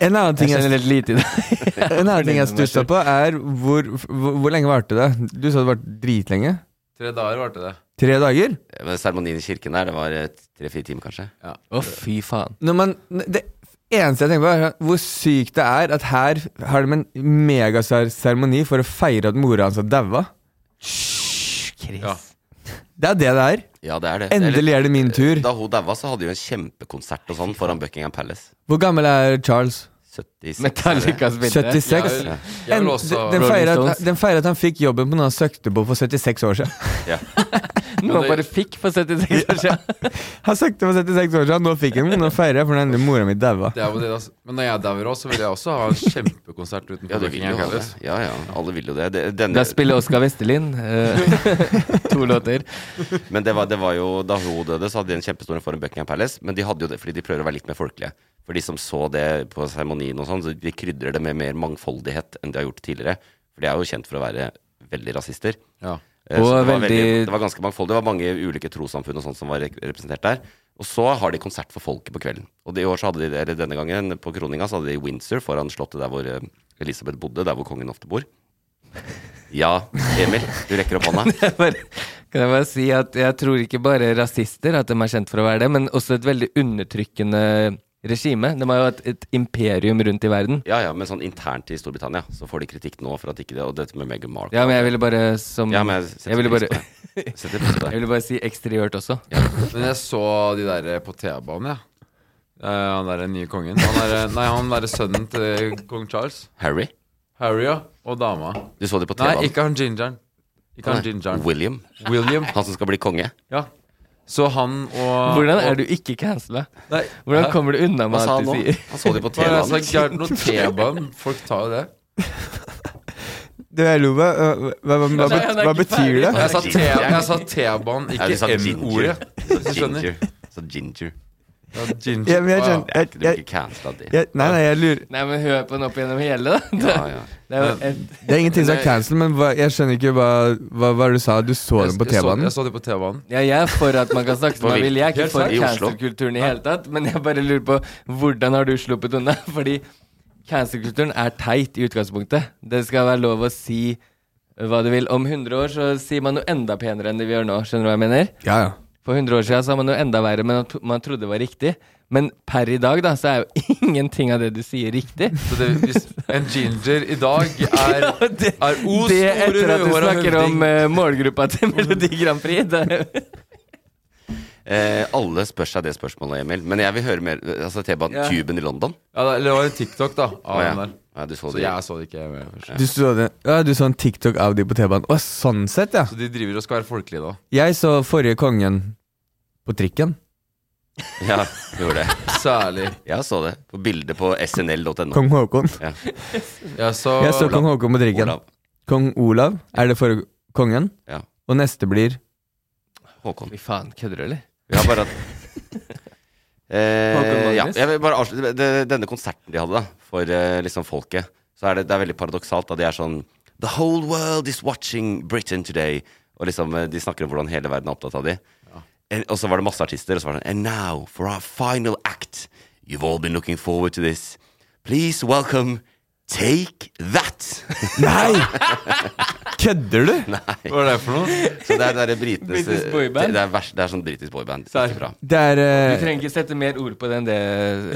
[SPEAKER 2] En annen ting
[SPEAKER 5] Jeg
[SPEAKER 2] jeg,
[SPEAKER 5] kjenner litt lite i det.
[SPEAKER 2] en annen ting jeg stussa på, er hvor, hvor, hvor lenge varte det? Du sa det varte dritlenge.
[SPEAKER 4] Tre dager varte det.
[SPEAKER 2] Tre dager?
[SPEAKER 3] Eh, Men Seremonien i kirken der, det var eh, tre-fire timer, kanskje?
[SPEAKER 4] Ja.
[SPEAKER 5] Å, fy faen.
[SPEAKER 2] Når man, det eneste jeg tenker på, er hvor sykt det er at her har de en megasvær seremoni for å feire at mora hans har daua.
[SPEAKER 4] Ja.
[SPEAKER 2] Det er det det er.
[SPEAKER 3] Ja, det er det.
[SPEAKER 2] Endelig er det min tur.
[SPEAKER 3] Eller, eh, da hun daua, så hadde de jo en kjempekonsert og sånn foran Buckingham Palace.
[SPEAKER 2] Hvor gammel er Charles?
[SPEAKER 3] 76.
[SPEAKER 5] Metallica spiller.
[SPEAKER 2] 76?
[SPEAKER 4] Jeg vil, jeg vil
[SPEAKER 2] En-
[SPEAKER 4] også
[SPEAKER 2] den,
[SPEAKER 5] Rolling
[SPEAKER 2] feirer at,
[SPEAKER 5] Stones.
[SPEAKER 2] den feirer at han fikk jobben på noe han søkte på for 76 år siden.
[SPEAKER 3] Ja.
[SPEAKER 5] Noe han bare fikk for 76 år siden.
[SPEAKER 2] Han søkte for 76 år siden, nå fikk han den. Nå feirer jeg for den endelig mora mi daua.
[SPEAKER 4] det er jo det, altså. Men når jeg dauer òg, så vil jeg også ha en kjempekonsert
[SPEAKER 3] Ja,
[SPEAKER 4] utenfor
[SPEAKER 3] du vil jo
[SPEAKER 4] Buckingham
[SPEAKER 3] ha det.
[SPEAKER 4] Palace.
[SPEAKER 3] Ja, ja, alle vil jo det. det denne,
[SPEAKER 5] Da spiller Oskar Vestelin eh, to låter.
[SPEAKER 3] men det var, det var jo da hun døde, så hadde de en kjempestor en foran Buckingham Palace. Men de hadde jo det fordi de prøver å være litt mer folkelige. For de som så det på seremonien og sånn, så de krydrer det med mer mangfoldighet enn de har gjort tidligere. For de er jo kjent for å være veldig rasister.
[SPEAKER 4] Ja.
[SPEAKER 3] Eh, så
[SPEAKER 5] Og
[SPEAKER 3] det, var veldig,
[SPEAKER 5] veldig-
[SPEAKER 3] det var ganske mangfoldig. Det var mange ulike trossamfunn og sånt som var re- representert der. Og så har de konsert for folket på kvelden. Og det, i år så hadde de det, eller denne gangen på kroninga så hadde de Windsor foran slottet der hvor eh, Elisabeth bodde, der hvor kongen ofte bor. Ja, Emil, du rekker opp hånda.
[SPEAKER 5] Jeg bare, kan jeg bare si at jeg tror ikke bare rasister at de er kjent for å være det, men også et veldig undertrykkende regime. De har jo hatt et imperium rundt i verden.
[SPEAKER 3] Ja ja, men sånn internt i Storbritannia så får de kritikk nå for at ikke det Og dette med Meghan Markle
[SPEAKER 5] Ja, men jeg ville bare som
[SPEAKER 3] Ja, men jeg
[SPEAKER 5] jeg,
[SPEAKER 3] setter
[SPEAKER 5] ville
[SPEAKER 3] pris
[SPEAKER 5] bare,
[SPEAKER 3] på det. Setter pris på
[SPEAKER 5] jeg
[SPEAKER 3] det.
[SPEAKER 5] ville bare si eksteriørt også.
[SPEAKER 4] Men jeg så de der eh, på T-banen, jeg. Ja. Eh, han derre nye kongen. Han er, eh, nei, han derre sønnen til eh, kong Charles.
[SPEAKER 3] Harry,
[SPEAKER 4] Harry, ja. Og dama.
[SPEAKER 3] du så det på
[SPEAKER 4] Nei,
[SPEAKER 3] TV-en?
[SPEAKER 4] ikke han gingeren. Ikke han gingeren.
[SPEAKER 3] William,
[SPEAKER 4] William.
[SPEAKER 3] han som skal bli konge.
[SPEAKER 4] Ja. Så han og
[SPEAKER 5] Hvordan
[SPEAKER 4] og-
[SPEAKER 5] er du ikke cancela?
[SPEAKER 4] Nei,
[SPEAKER 5] Hvordan kommer du unna
[SPEAKER 3] Hva
[SPEAKER 5] med
[SPEAKER 3] sa han
[SPEAKER 5] alt
[SPEAKER 3] nå?
[SPEAKER 5] du sier?
[SPEAKER 3] Han så det på
[SPEAKER 4] Hva er det?
[SPEAKER 3] TV-en.
[SPEAKER 4] Jeg har noen T-banen. Folk tar jo det.
[SPEAKER 2] Du, jeg lo, hva, hva, hva, hva,
[SPEAKER 5] Nei, han er
[SPEAKER 2] hva
[SPEAKER 5] ikke
[SPEAKER 2] betyr
[SPEAKER 5] ferdig.
[SPEAKER 2] det?
[SPEAKER 4] Jeg sa T- jeg sa T-banen,
[SPEAKER 3] Ja, du sa
[SPEAKER 4] ikke M-ordet.
[SPEAKER 3] Du sa
[SPEAKER 4] Du skjønner.
[SPEAKER 3] sånn ginger. Du sa ginger.
[SPEAKER 4] Ja, ginger.
[SPEAKER 2] Ja, men jeg
[SPEAKER 4] Å, ja.
[SPEAKER 2] skjønner- jeg-
[SPEAKER 3] Du blir
[SPEAKER 2] jeg-
[SPEAKER 3] ikke cancela av det.
[SPEAKER 2] jeg- Nei, nei, jeg lurer
[SPEAKER 5] Nei, men hør på den opp gjennom hele, da.
[SPEAKER 3] Ja, ja.
[SPEAKER 5] Det er jo et,
[SPEAKER 2] Det er ingenting som er cancel, men hva, jeg skjønner ikke hva, hva, hva du sa. Du så
[SPEAKER 4] Jeg-
[SPEAKER 2] den på
[SPEAKER 4] jeg så-
[SPEAKER 2] T-banen?
[SPEAKER 4] Jeg så det på T-banen.
[SPEAKER 5] ja, jeg er for at man kan snakke som man vil. Jeg er ikke
[SPEAKER 4] Helt
[SPEAKER 5] for
[SPEAKER 3] sant. I Oslo.
[SPEAKER 5] cancel-kulturen i hele tatt, men jeg bare lurer på hvordan har du sluppet unna? Fordi cancel-kulturen er teit i utgangspunktet. Det skal være lov å si hva du vil. Om 100 år så sier man noe enda penere enn det vi gjør nå, skjønner du hva jeg mener?
[SPEAKER 2] Ja, ja.
[SPEAKER 5] For 100 år siden sa man jo enda verre, men at man trodde det var riktig. Men per i dag, da, så er jo ingenting av det du sier, riktig.
[SPEAKER 4] Så det, hvis en ginger i dag er,
[SPEAKER 5] det-
[SPEAKER 4] er O,
[SPEAKER 5] Det
[SPEAKER 4] store
[SPEAKER 5] etter at du
[SPEAKER 4] rødhåra
[SPEAKER 5] snakker om
[SPEAKER 4] høvding.
[SPEAKER 5] eh, målgruppa til Melodi Grand Prix. Det,
[SPEAKER 3] Eh, alle spør seg det spørsmålet, Emil. Men jeg vil høre mer altså, T-banen
[SPEAKER 5] Ja.
[SPEAKER 3] Tuben i London.
[SPEAKER 4] Ja, det- eller det var en TikTok, da.
[SPEAKER 3] Å,
[SPEAKER 4] Av
[SPEAKER 3] ja.
[SPEAKER 4] den der.
[SPEAKER 3] Ja, du så
[SPEAKER 4] Så
[SPEAKER 3] det.
[SPEAKER 4] jeg så det ikke. jeg var først.
[SPEAKER 2] Du så, det. Ja, du så en TikTok av de på T-banen? Å, sånn sett, ja.
[SPEAKER 4] Så de driver og skal være folkelige da.
[SPEAKER 2] Jeg så forrige kongen på trikken.
[SPEAKER 3] Ja, du gjorde det.
[SPEAKER 4] Særlig.
[SPEAKER 3] Jeg så det på bildet på snl.no.
[SPEAKER 2] Kong Haakon.
[SPEAKER 3] Ja.
[SPEAKER 4] Jeg så,
[SPEAKER 2] Jeg så kong Haakon på trikken.
[SPEAKER 3] Olav.
[SPEAKER 2] Kong Olav er det forrige kongen.
[SPEAKER 3] Ja.
[SPEAKER 2] Og neste blir
[SPEAKER 3] Håkon.
[SPEAKER 5] Fy faen, kødder du, eller?
[SPEAKER 3] Vi har bare hatt
[SPEAKER 5] Håkon
[SPEAKER 3] eh,
[SPEAKER 5] Magnus.
[SPEAKER 3] ja, jeg vil bare avslutte det, Denne konserten de hadde da for eh, liksom folket, så er det, det er veldig paradoksalt. da De er sånn The whole world is watching Britain today. Og liksom eh, De snakker om hvordan hele verden er opptatt av de. En- Og så var det masse artister, og så var det sånn And now for our final act. You've all been looking forward to this. Please welcome Take That.
[SPEAKER 2] Nei! Kødder du?
[SPEAKER 4] Hva er det for noe?
[SPEAKER 3] Så det er, det er britenes
[SPEAKER 5] Britisk boyband.
[SPEAKER 3] Det er, vers, det er sånn britisk boyband.
[SPEAKER 4] Sær.
[SPEAKER 3] Ikke bra.
[SPEAKER 2] Det er
[SPEAKER 5] Du
[SPEAKER 2] eh,
[SPEAKER 5] trenger ikke sette mer ord på det enn det.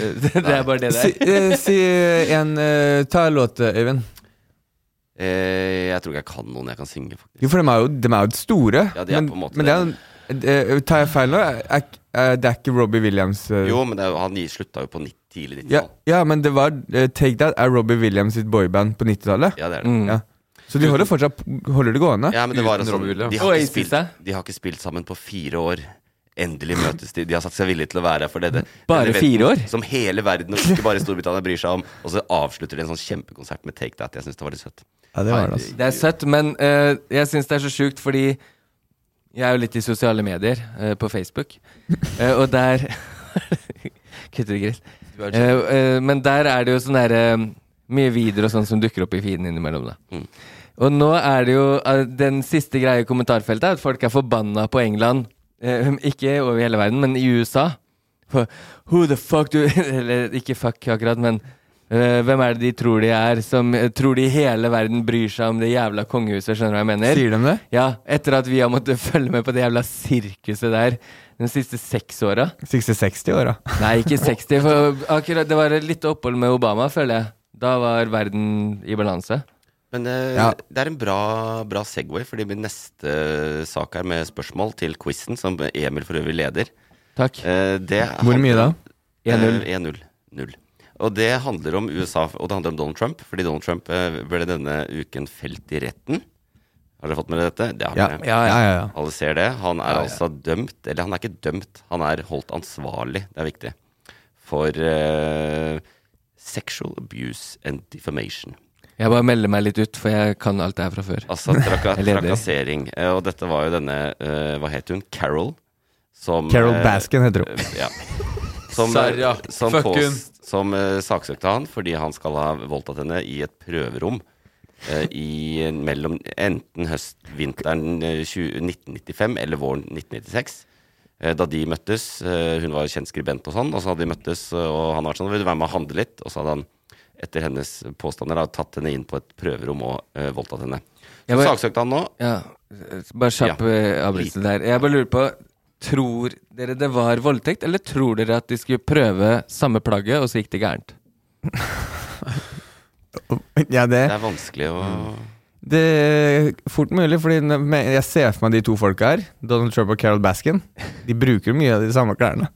[SPEAKER 5] Det er bare det
[SPEAKER 2] si,
[SPEAKER 5] der.
[SPEAKER 2] eh, si en eh, Ta en låt, Øyvind.
[SPEAKER 3] Eh, jeg tror ikke jeg kan noen jeg kan synge, faktisk.
[SPEAKER 2] Jo, for de er jo, de er jo store.
[SPEAKER 3] Ja, de er
[SPEAKER 2] men,
[SPEAKER 3] på en måte
[SPEAKER 2] men det er, jo- eh, tar jeg feil nå? Er, er, det er ikke Robbie Williams eh,
[SPEAKER 3] Jo, men det, er jo- han slutta jo på 90, tidlig 90-tall.
[SPEAKER 2] Ja, ja, men det var eh, Take That er Robbie Williams sitt boyband på 90-tallet.
[SPEAKER 3] Ja, det er det.
[SPEAKER 5] Mm.
[SPEAKER 2] Ja. Så de holder fortsatt holder det gående.
[SPEAKER 3] Ja, men det var
[SPEAKER 4] Uten
[SPEAKER 3] altså,
[SPEAKER 4] Robbie Williams.
[SPEAKER 3] de, har
[SPEAKER 5] Og
[SPEAKER 3] ikke
[SPEAKER 5] Aces,
[SPEAKER 3] spilt,
[SPEAKER 5] da?
[SPEAKER 3] de har ikke spilt sammen på fire år. Endelig møtes de. De har sagt seg villige til å være her for det. det
[SPEAKER 5] Bare
[SPEAKER 3] denne
[SPEAKER 5] fire år?
[SPEAKER 3] Som hele verden, og ikke bare Storbritannia, bryr seg om. Og så avslutter de en sånn kjempekonsert med Take That. Jeg syns det var litt søtt.
[SPEAKER 2] Ja, det var det, altså.
[SPEAKER 5] Det er søtt, men eh, jeg syns det er så sjukt fordi Jeg er jo litt i sosiale medier, eh, på Facebook. Eh, og der Kutter ikke litt.
[SPEAKER 4] Du er
[SPEAKER 5] Eh, eh, men der er det jo sånn derre Mye videoer og sånn som dukker opp i feeden innimellom, da.
[SPEAKER 3] Mm.
[SPEAKER 5] Og nå er det jo eh, Den siste greia i kommentarfeltet er at folk er forbanna på England. Eh, ikke over hele verden, men i USA. For who the fuck do Eller ikke fuck akkurat, men eh, hvem er det de tror de er, som eh, tror de i hele verden bryr seg om det jævla kongehuset? Skjønner du hva jeg mener?
[SPEAKER 2] Sier de det?
[SPEAKER 5] Ja, etter at vi har måttet følge med på det jævla sirkuset der de siste seks åra.
[SPEAKER 2] 60-60 år, da.
[SPEAKER 5] Nei, ikke 60, for akkurat det var et lite opphold med Obama, føler jeg. Da var verden i balanse.
[SPEAKER 3] Men eh,
[SPEAKER 2] Ja.
[SPEAKER 3] det er en bra, bra Segway, fordi min neste sak er med spørsmål til quizen, som Emil for øvrig leder.
[SPEAKER 5] Takk.
[SPEAKER 3] Eh, det
[SPEAKER 2] Hvor mye da?
[SPEAKER 5] 1-0.
[SPEAKER 3] Eh, 1-0. Null. Og det handler om USA, og det handler om Donald Trump. Fordi Donald Trump eh, ble denne uken felt i retten. Har dere fått med dere dette? Det har dere.
[SPEAKER 5] Ja, ja.
[SPEAKER 2] ja, ja.
[SPEAKER 3] Alle ser det. Han er altså dømt, eller han er ikke dømt, han er holdt ansvarlig, det er viktig, for eh, sexual abuse and defamation.
[SPEAKER 5] Jeg bare melder meg litt ut, for jeg kan alt det her fra før.
[SPEAKER 3] Altså traka
[SPEAKER 5] Jeg leder.
[SPEAKER 3] trakassering. Eh, Og dette var jo denne, eh, hva het hun, Carol? Som,
[SPEAKER 2] Carol
[SPEAKER 3] eh,
[SPEAKER 2] Baskin heter hun.
[SPEAKER 3] ja. Som, eh,
[SPEAKER 4] Sarah,
[SPEAKER 3] som,
[SPEAKER 4] fuck hun.
[SPEAKER 3] pås, som eh, saksøkte han fordi han skal ha voldtatt henne i et prøverom eh, i mellom enten høst, vinteren eh, 20, 1995 eller våren 1996. eh, Da de møttes, eh, hun var kjent skribent og sånn, og så hadde de møttes, eh, og han var sånn, vil du være med og handle litt? Og så hadde han, etter hennes påstander, da, tatt henne inn på et prøverom og eh, voldtatt henne.
[SPEAKER 5] Jeg
[SPEAKER 3] Så
[SPEAKER 5] bare-
[SPEAKER 3] saksøkte han nå.
[SPEAKER 5] Ja, Bare kjapp
[SPEAKER 3] Ja.
[SPEAKER 5] eh, avbrytelse der. Jeg bare lurer på Tror dere det var voldtekt, eller tror dere at de skulle prøve samme plagget, og så gikk det gærent?
[SPEAKER 2] Ja, det,
[SPEAKER 3] Det er vanskelig å
[SPEAKER 2] det er fort mulig, Fordi når- men jeg ser for meg de to folka her, Donald Trump og Carol Baskin, de bruker mye av de samme klærne.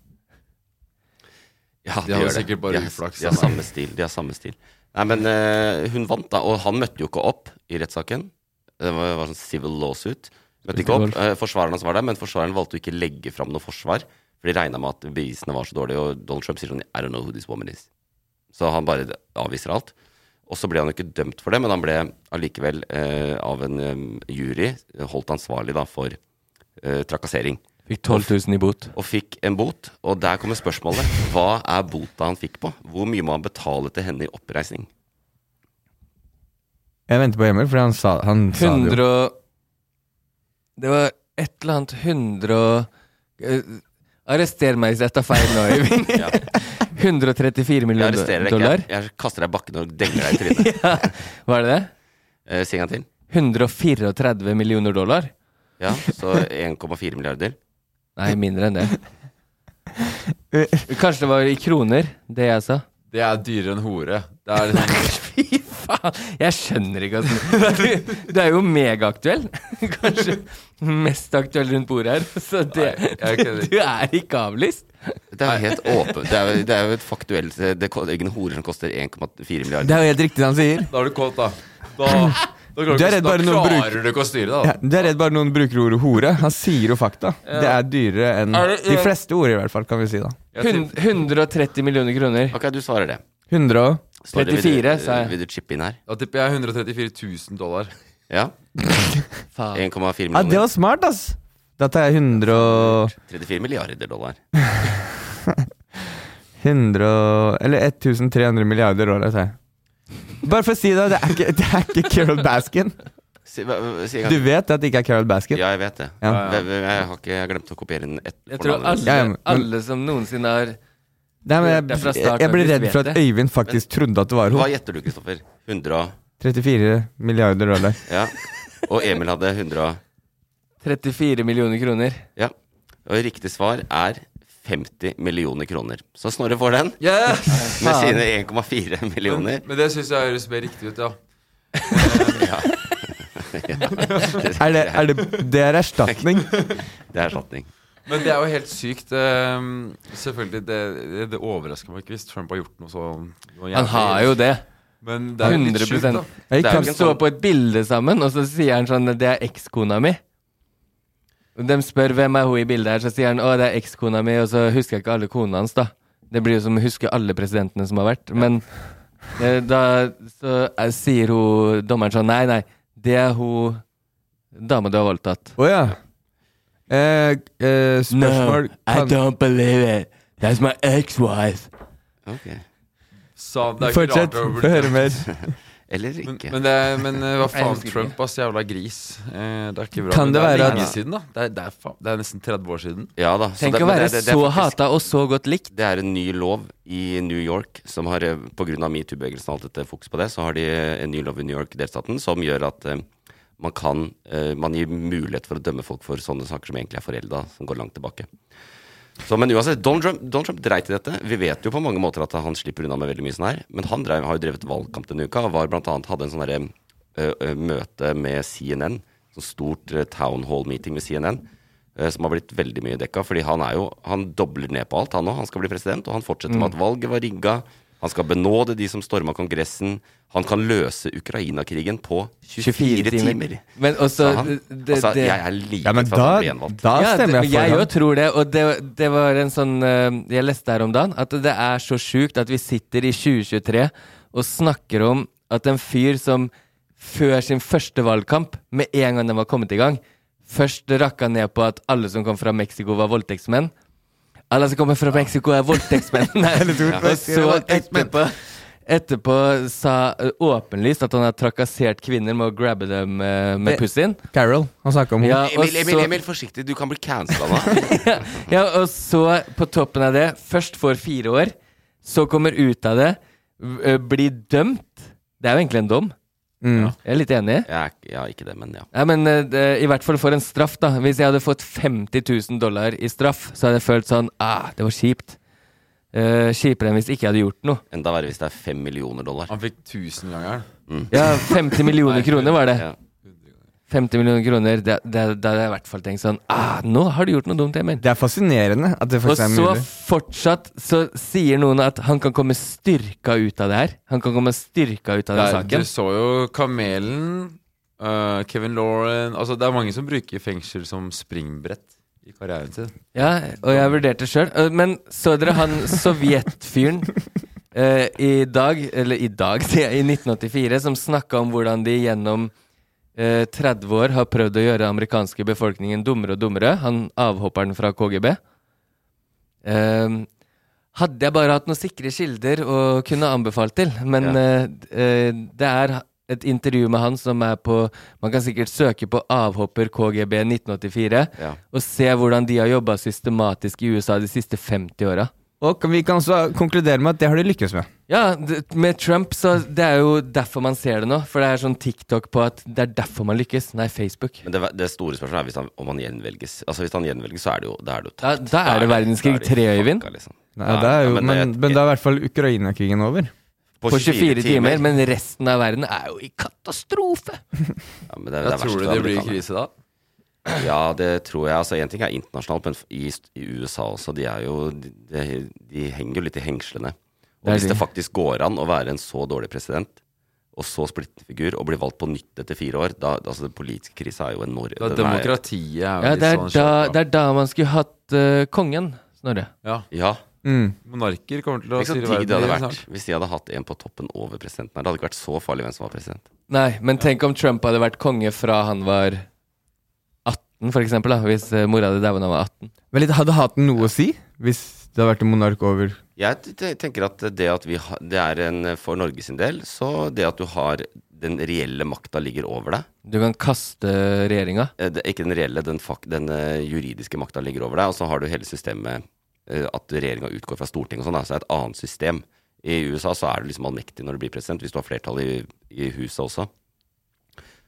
[SPEAKER 3] Ja,
[SPEAKER 4] De har
[SPEAKER 3] gjør det.
[SPEAKER 4] sikkert bare
[SPEAKER 3] De har-
[SPEAKER 4] uflaks,
[SPEAKER 3] De har
[SPEAKER 4] da.
[SPEAKER 3] samme stil. De har samme stil. Nei, men eh, hun vant, da. Og han møtte jo ikke opp i rettssaken. Det var, var sånn civil lawsuit. Møtte ikke opp. Eh, forsvareren hans var der, men forsvareren valgte jo ikke legge fram noe forsvar. For de regna med at bevisene var så dårlige, og Donald Trump sier sånn I don't know who this woman is. Så han bare avviser alt. Og så ble han jo ikke dømt for det, men han ble allikevel eh, av en eh, jury holdt ansvarlig da for eh, trakassering
[SPEAKER 5] Fikk 12 000 i bot.
[SPEAKER 3] og fikk en bot. Og der kommer spørsmålet. Hva er bota han fikk på? Hvor mye må han betale til henne i oppreisning?
[SPEAKER 2] Jeg venter på Emil, fordi han sa, han sa det
[SPEAKER 5] 100
[SPEAKER 2] jo.
[SPEAKER 5] og Det var et eller annet 100 og eh, Arrester meg hvis jeg tar feil nå, Øyvind. 134
[SPEAKER 3] Jeg
[SPEAKER 5] millioner
[SPEAKER 3] arresterer deg
[SPEAKER 5] dollar?
[SPEAKER 3] ikke. Jeg kaster deg i bakken og denger deg i trynet.
[SPEAKER 5] Ja. Var det det?
[SPEAKER 3] Eh, si en gang til.
[SPEAKER 5] 134 millioner dollar?
[SPEAKER 3] Ja, så 1,4 milliarder.
[SPEAKER 5] Nei, mindre enn det. Kanskje det var i kroner, det jeg sa.
[SPEAKER 4] Det er dyrere enn hore. Det er liksom,
[SPEAKER 5] Fy faen! Jeg skjønner ikke at du, du er jo megaaktuell. Kanskje mest aktuell rundt bordet her. Så det,
[SPEAKER 4] Nei, jeg er ikke-
[SPEAKER 5] du er ikke avlyst.
[SPEAKER 3] Det er jo helt åpen. Det er, jo- det er jo et faktuelt Det er ingen horer som koster 1,4
[SPEAKER 2] Det
[SPEAKER 3] milliarder.
[SPEAKER 2] er jo helt riktig det han sier.
[SPEAKER 4] da er du kåt, da. Da, da, klarer,
[SPEAKER 2] Du er
[SPEAKER 4] du ikke-
[SPEAKER 2] redd bare
[SPEAKER 4] da
[SPEAKER 2] noen
[SPEAKER 4] klarer du ikke å styre
[SPEAKER 2] Ja,
[SPEAKER 4] deg, da.
[SPEAKER 2] det er redd bare noen bruker ordet hore. Han sier jo fakta. Det er dyrere enn
[SPEAKER 5] Er det-
[SPEAKER 2] de fleste ord, i hvert fall, kan vi si da.
[SPEAKER 5] Hun- 130 millioner kroner.
[SPEAKER 3] Ok, du svarer det.
[SPEAKER 2] 100 og
[SPEAKER 3] Står det-
[SPEAKER 5] 34,
[SPEAKER 3] vil, du-
[SPEAKER 5] sa jeg.
[SPEAKER 3] Vil du chippe inn her?
[SPEAKER 4] Da tipper jeg 134 000 dollar.
[SPEAKER 3] Ja.
[SPEAKER 5] Faen.
[SPEAKER 3] 1,4
[SPEAKER 2] Ja, det
[SPEAKER 3] millioner.
[SPEAKER 2] var smart, ass! Da tar jeg 100 og
[SPEAKER 3] 34 milliarder dollar.
[SPEAKER 2] 100 og Eller 1300 milliarder år, tar jeg. Bare for å si det, det er ikke, det er ikke Carol Baskin.
[SPEAKER 3] Si, hva- si en gang
[SPEAKER 2] Du vet at det ikke er Carol Baskin?
[SPEAKER 3] Ja, jeg vet det.
[SPEAKER 2] Ja.
[SPEAKER 3] Jeg, jeg har ikke jeg har glemt å kopiere den. ett
[SPEAKER 5] Jeg tror
[SPEAKER 3] fornavn.
[SPEAKER 5] alle,
[SPEAKER 2] Ja, ja, men-
[SPEAKER 5] alle som noensinne har
[SPEAKER 2] Nei, men
[SPEAKER 5] Det er fra
[SPEAKER 2] jeg,
[SPEAKER 5] starten,
[SPEAKER 2] jeg blir
[SPEAKER 5] hvis
[SPEAKER 2] redd
[SPEAKER 5] du
[SPEAKER 2] for
[SPEAKER 5] vet
[SPEAKER 2] at
[SPEAKER 5] det.
[SPEAKER 2] Øyvind faktisk trodde at det var
[SPEAKER 3] Hva
[SPEAKER 2] hun.
[SPEAKER 3] gjetter du, Kristoffer? 100 og
[SPEAKER 2] 34 milliarder dollar.
[SPEAKER 3] Ja. Og Emil hadde 100 og
[SPEAKER 5] 34 millioner kroner.
[SPEAKER 3] Ja. Og riktig svar er 50 millioner kroner. Så Snorre får den med
[SPEAKER 5] Faen.
[SPEAKER 3] sine 1,4 millioner.
[SPEAKER 4] Men det syns jeg høres mer riktig ut, ja.
[SPEAKER 2] Er det, er det, det er erstatning?
[SPEAKER 3] Det er erstatning.
[SPEAKER 4] Men det er jo helt sykt. ehm, selvfølgelig, det, det, det overrasker meg ikke hvis Trump har gjort noe så noe
[SPEAKER 5] Han
[SPEAKER 4] jævlig.
[SPEAKER 5] har jo det.
[SPEAKER 4] Men det er jo litt sjukt,
[SPEAKER 5] 100
[SPEAKER 4] da.
[SPEAKER 2] Jeg
[SPEAKER 3] Det er jo
[SPEAKER 2] kan,
[SPEAKER 5] De
[SPEAKER 3] ikke en
[SPEAKER 5] står
[SPEAKER 3] sånn-
[SPEAKER 5] på et bilde sammen, og så sier han sånn Det er ekskona mi. Og De spør hvem er hun i bildet her, så sier han å, det er ekskona mi, og så husker jeg ikke alle konene hans, da. Det blir jo som å huske alle presidentene som har vært. Men eh, da så eh, sier hun dommeren sånn Nei, nei, det er hun dama du har voldtatt.
[SPEAKER 2] Å ja. Eh, eh, spørsmål kan,
[SPEAKER 5] don't believe it. That's my ex-wife.
[SPEAKER 3] Ok.
[SPEAKER 4] Sa han, det er ikke
[SPEAKER 2] Fortsett,
[SPEAKER 4] rart over
[SPEAKER 2] få høre mer.
[SPEAKER 3] Eller
[SPEAKER 4] Men,
[SPEAKER 3] ikke.
[SPEAKER 4] men, det, er- men eh, hva faen,
[SPEAKER 5] husker
[SPEAKER 4] Trump, ass, jævla gris. Eh, det er ikke bra.
[SPEAKER 2] Kan
[SPEAKER 4] men
[SPEAKER 2] det
[SPEAKER 4] er
[SPEAKER 2] være at-
[SPEAKER 4] lenge siden, da. Det er, det, er, faen- det er nesten 30 år siden.
[SPEAKER 3] ja da. så
[SPEAKER 5] Tenk
[SPEAKER 3] det-
[SPEAKER 5] å
[SPEAKER 3] men
[SPEAKER 5] være
[SPEAKER 3] det- det- det er
[SPEAKER 5] så
[SPEAKER 3] faktisk-
[SPEAKER 5] hata og så godt likt.
[SPEAKER 3] Det er en ny lov i New York som har, eh, på grunn av metoo-bevegelsen og alt dette fokus på det, så har de eh, en ny lov i New York-delstaten som gjør at eh, man kan eh, Man gir mulighet for å dømme folk for sånne saker som egentlig er forelda, som går langt tilbake. Så, men uansett, Donald Trump, Donald Trump dreit i dette. Vi vet jo på mange måter at han slipper unna med veldig mye sånn her, men han drev, har jo drevet valgkamp denne uka og var blant annet, hadde en sånn derre eh, eh, møte med CNN, sånn stort eh, town hall meeting med CNN, eh, som har blitt veldig mye dekka, fordi han er jo Han dobler ned på alt, han òg. Han skal bli president, og han fortsetter
[SPEAKER 5] Mm.
[SPEAKER 3] med at valget var rigga. Han skal benåde de som storma Kongressen. Han kan løse Ukraina-krigen på 24, timer.
[SPEAKER 5] Men også eh,
[SPEAKER 3] Sa han.
[SPEAKER 5] det,
[SPEAKER 3] altså,
[SPEAKER 5] det,
[SPEAKER 3] jeg er livredd
[SPEAKER 2] Ja, men
[SPEAKER 3] for at
[SPEAKER 2] da,
[SPEAKER 3] han blir gjenvalgt.
[SPEAKER 2] da
[SPEAKER 5] Ja, det,
[SPEAKER 2] stemmer
[SPEAKER 5] men
[SPEAKER 2] jeg
[SPEAKER 5] jeg
[SPEAKER 2] for
[SPEAKER 5] jo
[SPEAKER 2] ham.
[SPEAKER 5] tror det, og det, det var en sånn eh, Jeg leste her om dagen at det er så sjukt at vi sitter i 2023 og snakker om at en fyr som før sin første valgkamp, med en gang den var kommet i gang, først rakka ned på at alle som kom fra Mexico, var voldtektsmenn. Alle som kommer fra Mexico, er voldtektsmenn. Nei, Og så etterpå Etterpå sa eh, åpenlyst at han har trakassert kvinner med å grabbe dem eh, med
[SPEAKER 2] Det- Mm.
[SPEAKER 5] pussien.
[SPEAKER 2] Carol, han snakka om henne.
[SPEAKER 5] Ja, og
[SPEAKER 3] Emil, Emil,
[SPEAKER 5] så-
[SPEAKER 3] Emil, forsiktig, du kan bli cancela nå.
[SPEAKER 5] ja, og så på toppen av det Først får fire år Så kommer ut av det v- ø, Blir dømt Det er jo egentlig en dom
[SPEAKER 2] Mm.
[SPEAKER 5] Jeg er litt enig
[SPEAKER 3] Jeg er ikke- ja, ikke det, men ja.
[SPEAKER 5] Nei, men ø, det, i hvert fall for en straff da Hvis jeg hadde fått 50 000 dollar i straff Så hadde jeg følt sånn Ah, det var kjipt Eh, Kjipere enn hvis jeg ikke hadde gjort noe
[SPEAKER 3] Enda verre hvis det er fem millioner dollar.
[SPEAKER 4] Han fikk tusengangeren.
[SPEAKER 5] Ja, 50 millioner kroner var det
[SPEAKER 3] Ja.
[SPEAKER 5] 50 millioner kroner Da da- da hadde jeg i hvert fall tenkt sånn Ah, nå har du gjort noe dumt, Emil
[SPEAKER 2] Det er fascinerende at det
[SPEAKER 5] Og
[SPEAKER 2] faktisk er
[SPEAKER 5] så
[SPEAKER 2] mulig.
[SPEAKER 5] fortsatt så sier noen at han kan komme styrka ut av det her. Han kan komme styrka ut av den
[SPEAKER 4] Det er- Du
[SPEAKER 5] saken.
[SPEAKER 4] så jo Kamelen, eh, Kevin Lauren Altså, det er mange som bruker fengsel som springbrett i karrieren sin.
[SPEAKER 5] Ja, og jeg vurderte sjøl. Men så dere han sovjetfyren eh, i dag, eller i dag, sier jeg, i 1984, som snakka om hvordan de gjennom eh, 30 år har prøvd å gjøre den amerikanske befolkningen dummere og dummere. Han avhopperen fra KGB. Eh, hadde jeg bare hatt noen sikre kilder å kunne anbefalt til. Men eh, d- eh, det er et intervju med han som er på Man kan sikkert søke på 'avhopper KGB 1984'
[SPEAKER 3] Ja.
[SPEAKER 5] og se hvordan de har jobba systematisk i USA de siste 50 åra.
[SPEAKER 2] Og kan- vi kan også konkludere med at det har de lykkes med.
[SPEAKER 5] Ja, d- med Trump så Det er jo derfor man ser det nå. For det er sånn TikTok på at det er derfor man lykkes. Nei, Facebook.
[SPEAKER 3] Men det, det store spørsmålet er hvis han, om han gjenvelges. Altså Hvis han gjenvelges, så er det jo Da er det jo
[SPEAKER 5] Da, da er det verdenskrig
[SPEAKER 3] da er
[SPEAKER 5] tre,
[SPEAKER 3] de
[SPEAKER 5] Øyvind.
[SPEAKER 3] fucka, liksom.
[SPEAKER 2] Nei,
[SPEAKER 3] Ja,
[SPEAKER 2] det er jo,
[SPEAKER 3] ja, men
[SPEAKER 2] men,
[SPEAKER 3] det-
[SPEAKER 2] men da er i hvert fall Ukraina-krigen over.
[SPEAKER 5] På 24 timer. Men resten av verden er jo i katastrofe.
[SPEAKER 3] Ja, men det,
[SPEAKER 4] Jeg
[SPEAKER 3] det er verst
[SPEAKER 4] tror du
[SPEAKER 3] for
[SPEAKER 4] det blir
[SPEAKER 3] amerikanerne.
[SPEAKER 4] krise da?
[SPEAKER 3] Ja, det tror jeg. Altså Én ting er internasjonalt, men i, i USA også. De er jo de, de henger jo litt i hengslene. Og
[SPEAKER 5] Det er
[SPEAKER 3] hvis
[SPEAKER 5] de.
[SPEAKER 3] det faktisk går an å være en så dårlig president, og så splittende figur, og bli valgt på nytt etter fire år da, Altså, den politiske krisa er jo enorm.
[SPEAKER 4] Da,
[SPEAKER 3] Den er-
[SPEAKER 4] demokratiet er jo
[SPEAKER 5] Ja,
[SPEAKER 4] litt
[SPEAKER 5] det er
[SPEAKER 4] sånn
[SPEAKER 5] da,
[SPEAKER 4] kjørt,
[SPEAKER 5] det er da man skulle hatt eh, kongen, Snorre.
[SPEAKER 4] Ja,
[SPEAKER 3] Ja.
[SPEAKER 2] Mm.
[SPEAKER 4] Monarker kommer til å
[SPEAKER 3] Tenk så
[SPEAKER 4] styre
[SPEAKER 3] digg det hadde
[SPEAKER 4] igjen
[SPEAKER 3] vært
[SPEAKER 5] liksom?
[SPEAKER 4] snart.
[SPEAKER 3] hvis de hadde hatt en på toppen over presidenten her. Det hadde ikke vært så farlig hvem som var president.
[SPEAKER 5] Nei, men tenk om Trump hadde vært konge fra han var 18, for eksempel, da, hvis eh, mora hadde daua da han var 18.
[SPEAKER 2] Men litt, hadde hatt noe å si hvis det hadde vært en monark over
[SPEAKER 3] Jeg t- t- tenker at det at vi har Det er en For Norge sin del, så det at du har den reelle makta ligger over deg
[SPEAKER 5] Du kan kaste regjeringa.
[SPEAKER 3] Eh, det, Ikke den reelle, den, fak, den eh, juridiske makta ligger over deg, og så har du hele systemet eh, at regjeringa utgår fra Stortinget og sånn, altså et annet system. I USA så er du liksom allmektig når du blir president, hvis du har flertall i, i huset også.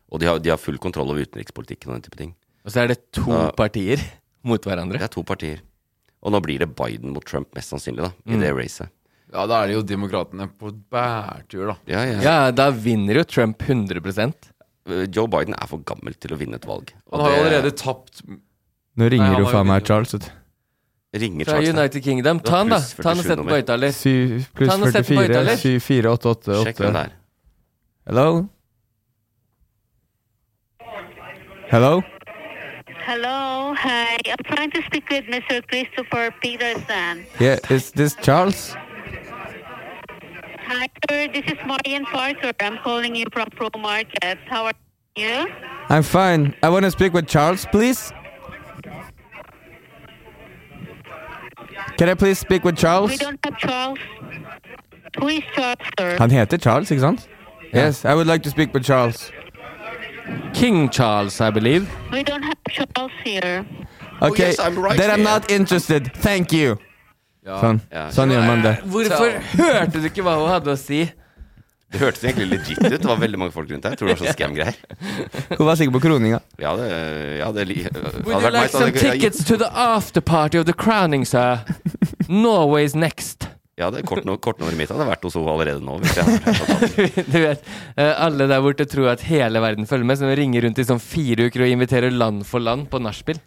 [SPEAKER 3] Og de har, de har full kontroll over utenrikspolitikken og den type ting.
[SPEAKER 5] Og så er det to
[SPEAKER 3] Ja.
[SPEAKER 5] partier mot
[SPEAKER 3] Det
[SPEAKER 5] hverandre.
[SPEAKER 3] er to partier. Og nå blir det Biden mot Trump, mest sannsynlig, da, i det racet.
[SPEAKER 4] Ja, da er det jo demokratene på bærtur, da.
[SPEAKER 3] Ja, ja.
[SPEAKER 5] Ja, da vinner jo Trump 100
[SPEAKER 3] Eh, Joe Biden er for gammel til å vinne et valg. Og
[SPEAKER 4] Han har jo
[SPEAKER 3] det
[SPEAKER 4] allerede tapt
[SPEAKER 2] Nå
[SPEAKER 4] Nei,
[SPEAKER 2] ringer
[SPEAKER 4] han
[SPEAKER 2] jo
[SPEAKER 4] var
[SPEAKER 2] faen
[SPEAKER 4] jo
[SPEAKER 2] meg
[SPEAKER 4] ikke-
[SPEAKER 2] Charles. vet du.
[SPEAKER 3] ringer
[SPEAKER 5] fra
[SPEAKER 3] Charles. da.
[SPEAKER 5] United Kingdom.
[SPEAKER 3] Det var
[SPEAKER 5] Ta han, da.
[SPEAKER 3] pluss
[SPEAKER 5] Ta han og
[SPEAKER 3] 47
[SPEAKER 5] sett på
[SPEAKER 3] nummer.
[SPEAKER 5] høyttaler.
[SPEAKER 2] 7 pluss
[SPEAKER 5] Ta den og sett på
[SPEAKER 2] 44,
[SPEAKER 5] høyttaler.
[SPEAKER 2] 7, 4, 8, 8,
[SPEAKER 3] Sjekk hvem det
[SPEAKER 2] 8.
[SPEAKER 3] er.
[SPEAKER 2] Hello? Hello?
[SPEAKER 7] Hello, hi. I'm trying to speak with Mr. Christopher Peterson.
[SPEAKER 2] Yeah, is this Charles?
[SPEAKER 7] Hi, sir. This is Marian Parker. I'm calling you from Pro Markets. How are you?
[SPEAKER 2] I'm fine. I want to speak with Charles, please. Can I please speak with
[SPEAKER 7] We
[SPEAKER 2] Charles?
[SPEAKER 7] don't have Charles. Who is Charles, sir?
[SPEAKER 2] Han heter Charles, ikke sant? Yes, I would like to speak with Charles.
[SPEAKER 5] King Charles, I believe.
[SPEAKER 7] We don't have Charles here.
[SPEAKER 2] Okay,
[SPEAKER 3] Oh, yes, I'm right
[SPEAKER 2] then I'm
[SPEAKER 3] here.
[SPEAKER 2] not interested. Thank you.
[SPEAKER 4] Ja.
[SPEAKER 2] Sånn,
[SPEAKER 3] ja.
[SPEAKER 2] sånn gjør man det.
[SPEAKER 5] Hvorfor hørte du ikke hva hun hadde å si?
[SPEAKER 3] Det hørtes egentlig legit ut. Det var veldig mange folk rundt her. Tror det var sånn scam-greier.
[SPEAKER 2] Hun var sikker på kroninga.
[SPEAKER 3] Ja, det, ja, det li- hadde
[SPEAKER 5] Would you
[SPEAKER 3] vært
[SPEAKER 5] like
[SPEAKER 3] nice,
[SPEAKER 5] some
[SPEAKER 3] hadde jeg-
[SPEAKER 5] tickets to the after party of the crowning, sir? Norway's next.
[SPEAKER 3] Ja, det kortnummeret kort kortnummeret mitt hadde vært hos henne allerede nå. Hvis jeg hadde vært
[SPEAKER 5] Du vet, eh, alle der borte tror at hele verden følger med, så de ringer rundt i sånn fire uker og inviterer land for land på nachspiel.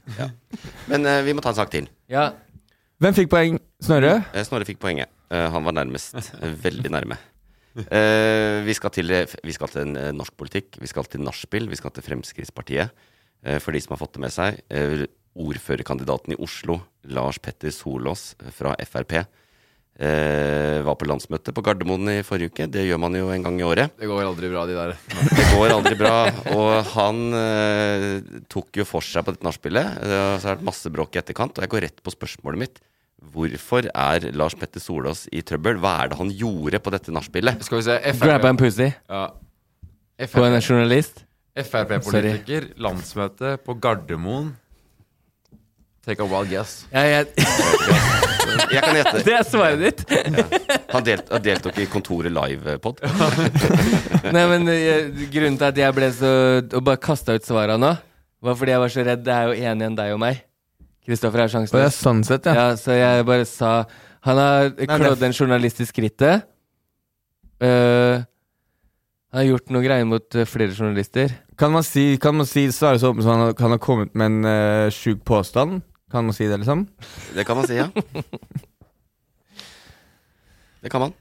[SPEAKER 3] Men eh, vi må ta en sak til.
[SPEAKER 5] Ja,
[SPEAKER 2] Hvem fikk poeng? Snorre?
[SPEAKER 3] Eh, Snorre fikk poenget. Eh, han var nærmest. Eh, veldig nærme. Eh, vi, skal til, vi skal til en, eh, norsk politikk, vi skal til nachspiel, vi skal til Fremskrittspartiet. Eh, for de som har fått det med seg. Eh, ordførerkandidaten i Oslo, Lars Petter Solås eh, fra Frp, eh, var på landsmøte på Gardermoen i forrige uke. Det gjør man jo en gang i året.
[SPEAKER 4] Det går aldri bra, de der.
[SPEAKER 3] Det går aldri bra. Og han eh, tok jo for seg på dette nachspielet. Eh, så har det vært masse bråk i etterkant. Og jeg går rett på spørsmålet mitt. Hvorfor er Lars Petter Solås i trøbbel? Hva er det han gjorde på dette nachspielet?
[SPEAKER 4] Skal vi se
[SPEAKER 5] Grabba en pussy
[SPEAKER 4] ja.
[SPEAKER 5] på en
[SPEAKER 4] FRP.
[SPEAKER 5] journalist.
[SPEAKER 4] Frp-politiker, landsmøte på Gardermoen. Take a wild guess.
[SPEAKER 5] Ja, jeg,
[SPEAKER 3] Jeg kan gjette.
[SPEAKER 5] det er svaret ditt!
[SPEAKER 3] Han delt, han deltok i Kontoret eh, live-pod.
[SPEAKER 5] Nei, men eh, Grunnen til at jeg ble så Og bare kasta ut svara nå, var fordi jeg var så redd. Det er jo enig enn deg og meg. Kristoffer har sjansen.
[SPEAKER 2] Å ja, sånn sett, ja.
[SPEAKER 5] Ja, så jeg bare sa Han har klådd en journalist i skrittet. Eh, han har gjort noe greier mot eh, flere journalister.
[SPEAKER 2] Kan man si, kan man si svare så åpent som han har- kan ha kommet med en eh, sjuk påstand? Kan man si det, liksom?
[SPEAKER 3] Det kan man si, ja. Det kan man.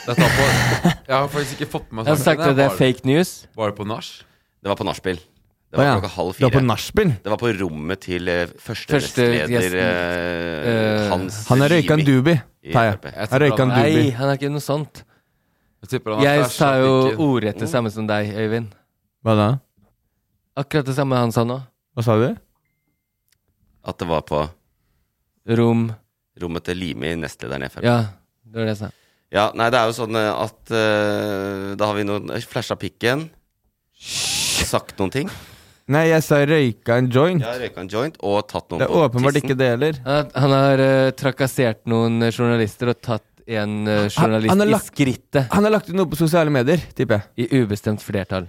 [SPEAKER 4] Dette er på, jeg har faktisk ikke fått med meg
[SPEAKER 5] Jeg har sagt at det er fake news.
[SPEAKER 4] Var det på nach?
[SPEAKER 3] Det var på nachspiel. Det
[SPEAKER 2] Å
[SPEAKER 3] var
[SPEAKER 2] ja.
[SPEAKER 3] klokka halv
[SPEAKER 2] Du er på
[SPEAKER 3] fire.
[SPEAKER 2] nachspiel?
[SPEAKER 3] Det var på rommet til eh, første
[SPEAKER 5] Første
[SPEAKER 3] nestleder eh,
[SPEAKER 5] eh,
[SPEAKER 3] Hans
[SPEAKER 2] Han har røyka en
[SPEAKER 3] Rimi
[SPEAKER 2] doobie,
[SPEAKER 3] i
[SPEAKER 2] tar jeg.
[SPEAKER 3] FrP.
[SPEAKER 4] Jeg
[SPEAKER 2] Han
[SPEAKER 4] tipper
[SPEAKER 2] røyka en
[SPEAKER 4] han-
[SPEAKER 5] Nei,
[SPEAKER 2] doobie.
[SPEAKER 5] han er ikke noe sånt.
[SPEAKER 4] Jeg tipper han at det
[SPEAKER 5] Jeg
[SPEAKER 4] er
[SPEAKER 5] sa
[SPEAKER 4] sånn
[SPEAKER 5] jo
[SPEAKER 4] at ikke-
[SPEAKER 5] ordrett det samme som deg, Øyvind.
[SPEAKER 2] Hva da?
[SPEAKER 5] Akkurat det samme han sa nå.
[SPEAKER 2] Hva sa du?
[SPEAKER 3] At det var på
[SPEAKER 5] Rom
[SPEAKER 3] rommet til Limi, nestlederen i Frp.
[SPEAKER 5] Ja, det var det jeg sa.
[SPEAKER 3] Ja, nei, det er jo sånn eh, at eh, Da har vi noen flasha pikken. Sagt noen ting.
[SPEAKER 2] Nei, jeg sa røyka en joint.
[SPEAKER 3] Jeg har røyka en joint og tatt noen
[SPEAKER 2] Det er åpenbart ikke det heller.
[SPEAKER 5] Han, har- han har eh, trakassert noen eh, journalister og tatt en eh, journalist
[SPEAKER 2] han har
[SPEAKER 5] i
[SPEAKER 2] lagt-
[SPEAKER 5] skrittet
[SPEAKER 2] Han har lagt ut noe på sosiale medier, tipper jeg.
[SPEAKER 5] i ubestemt flertall.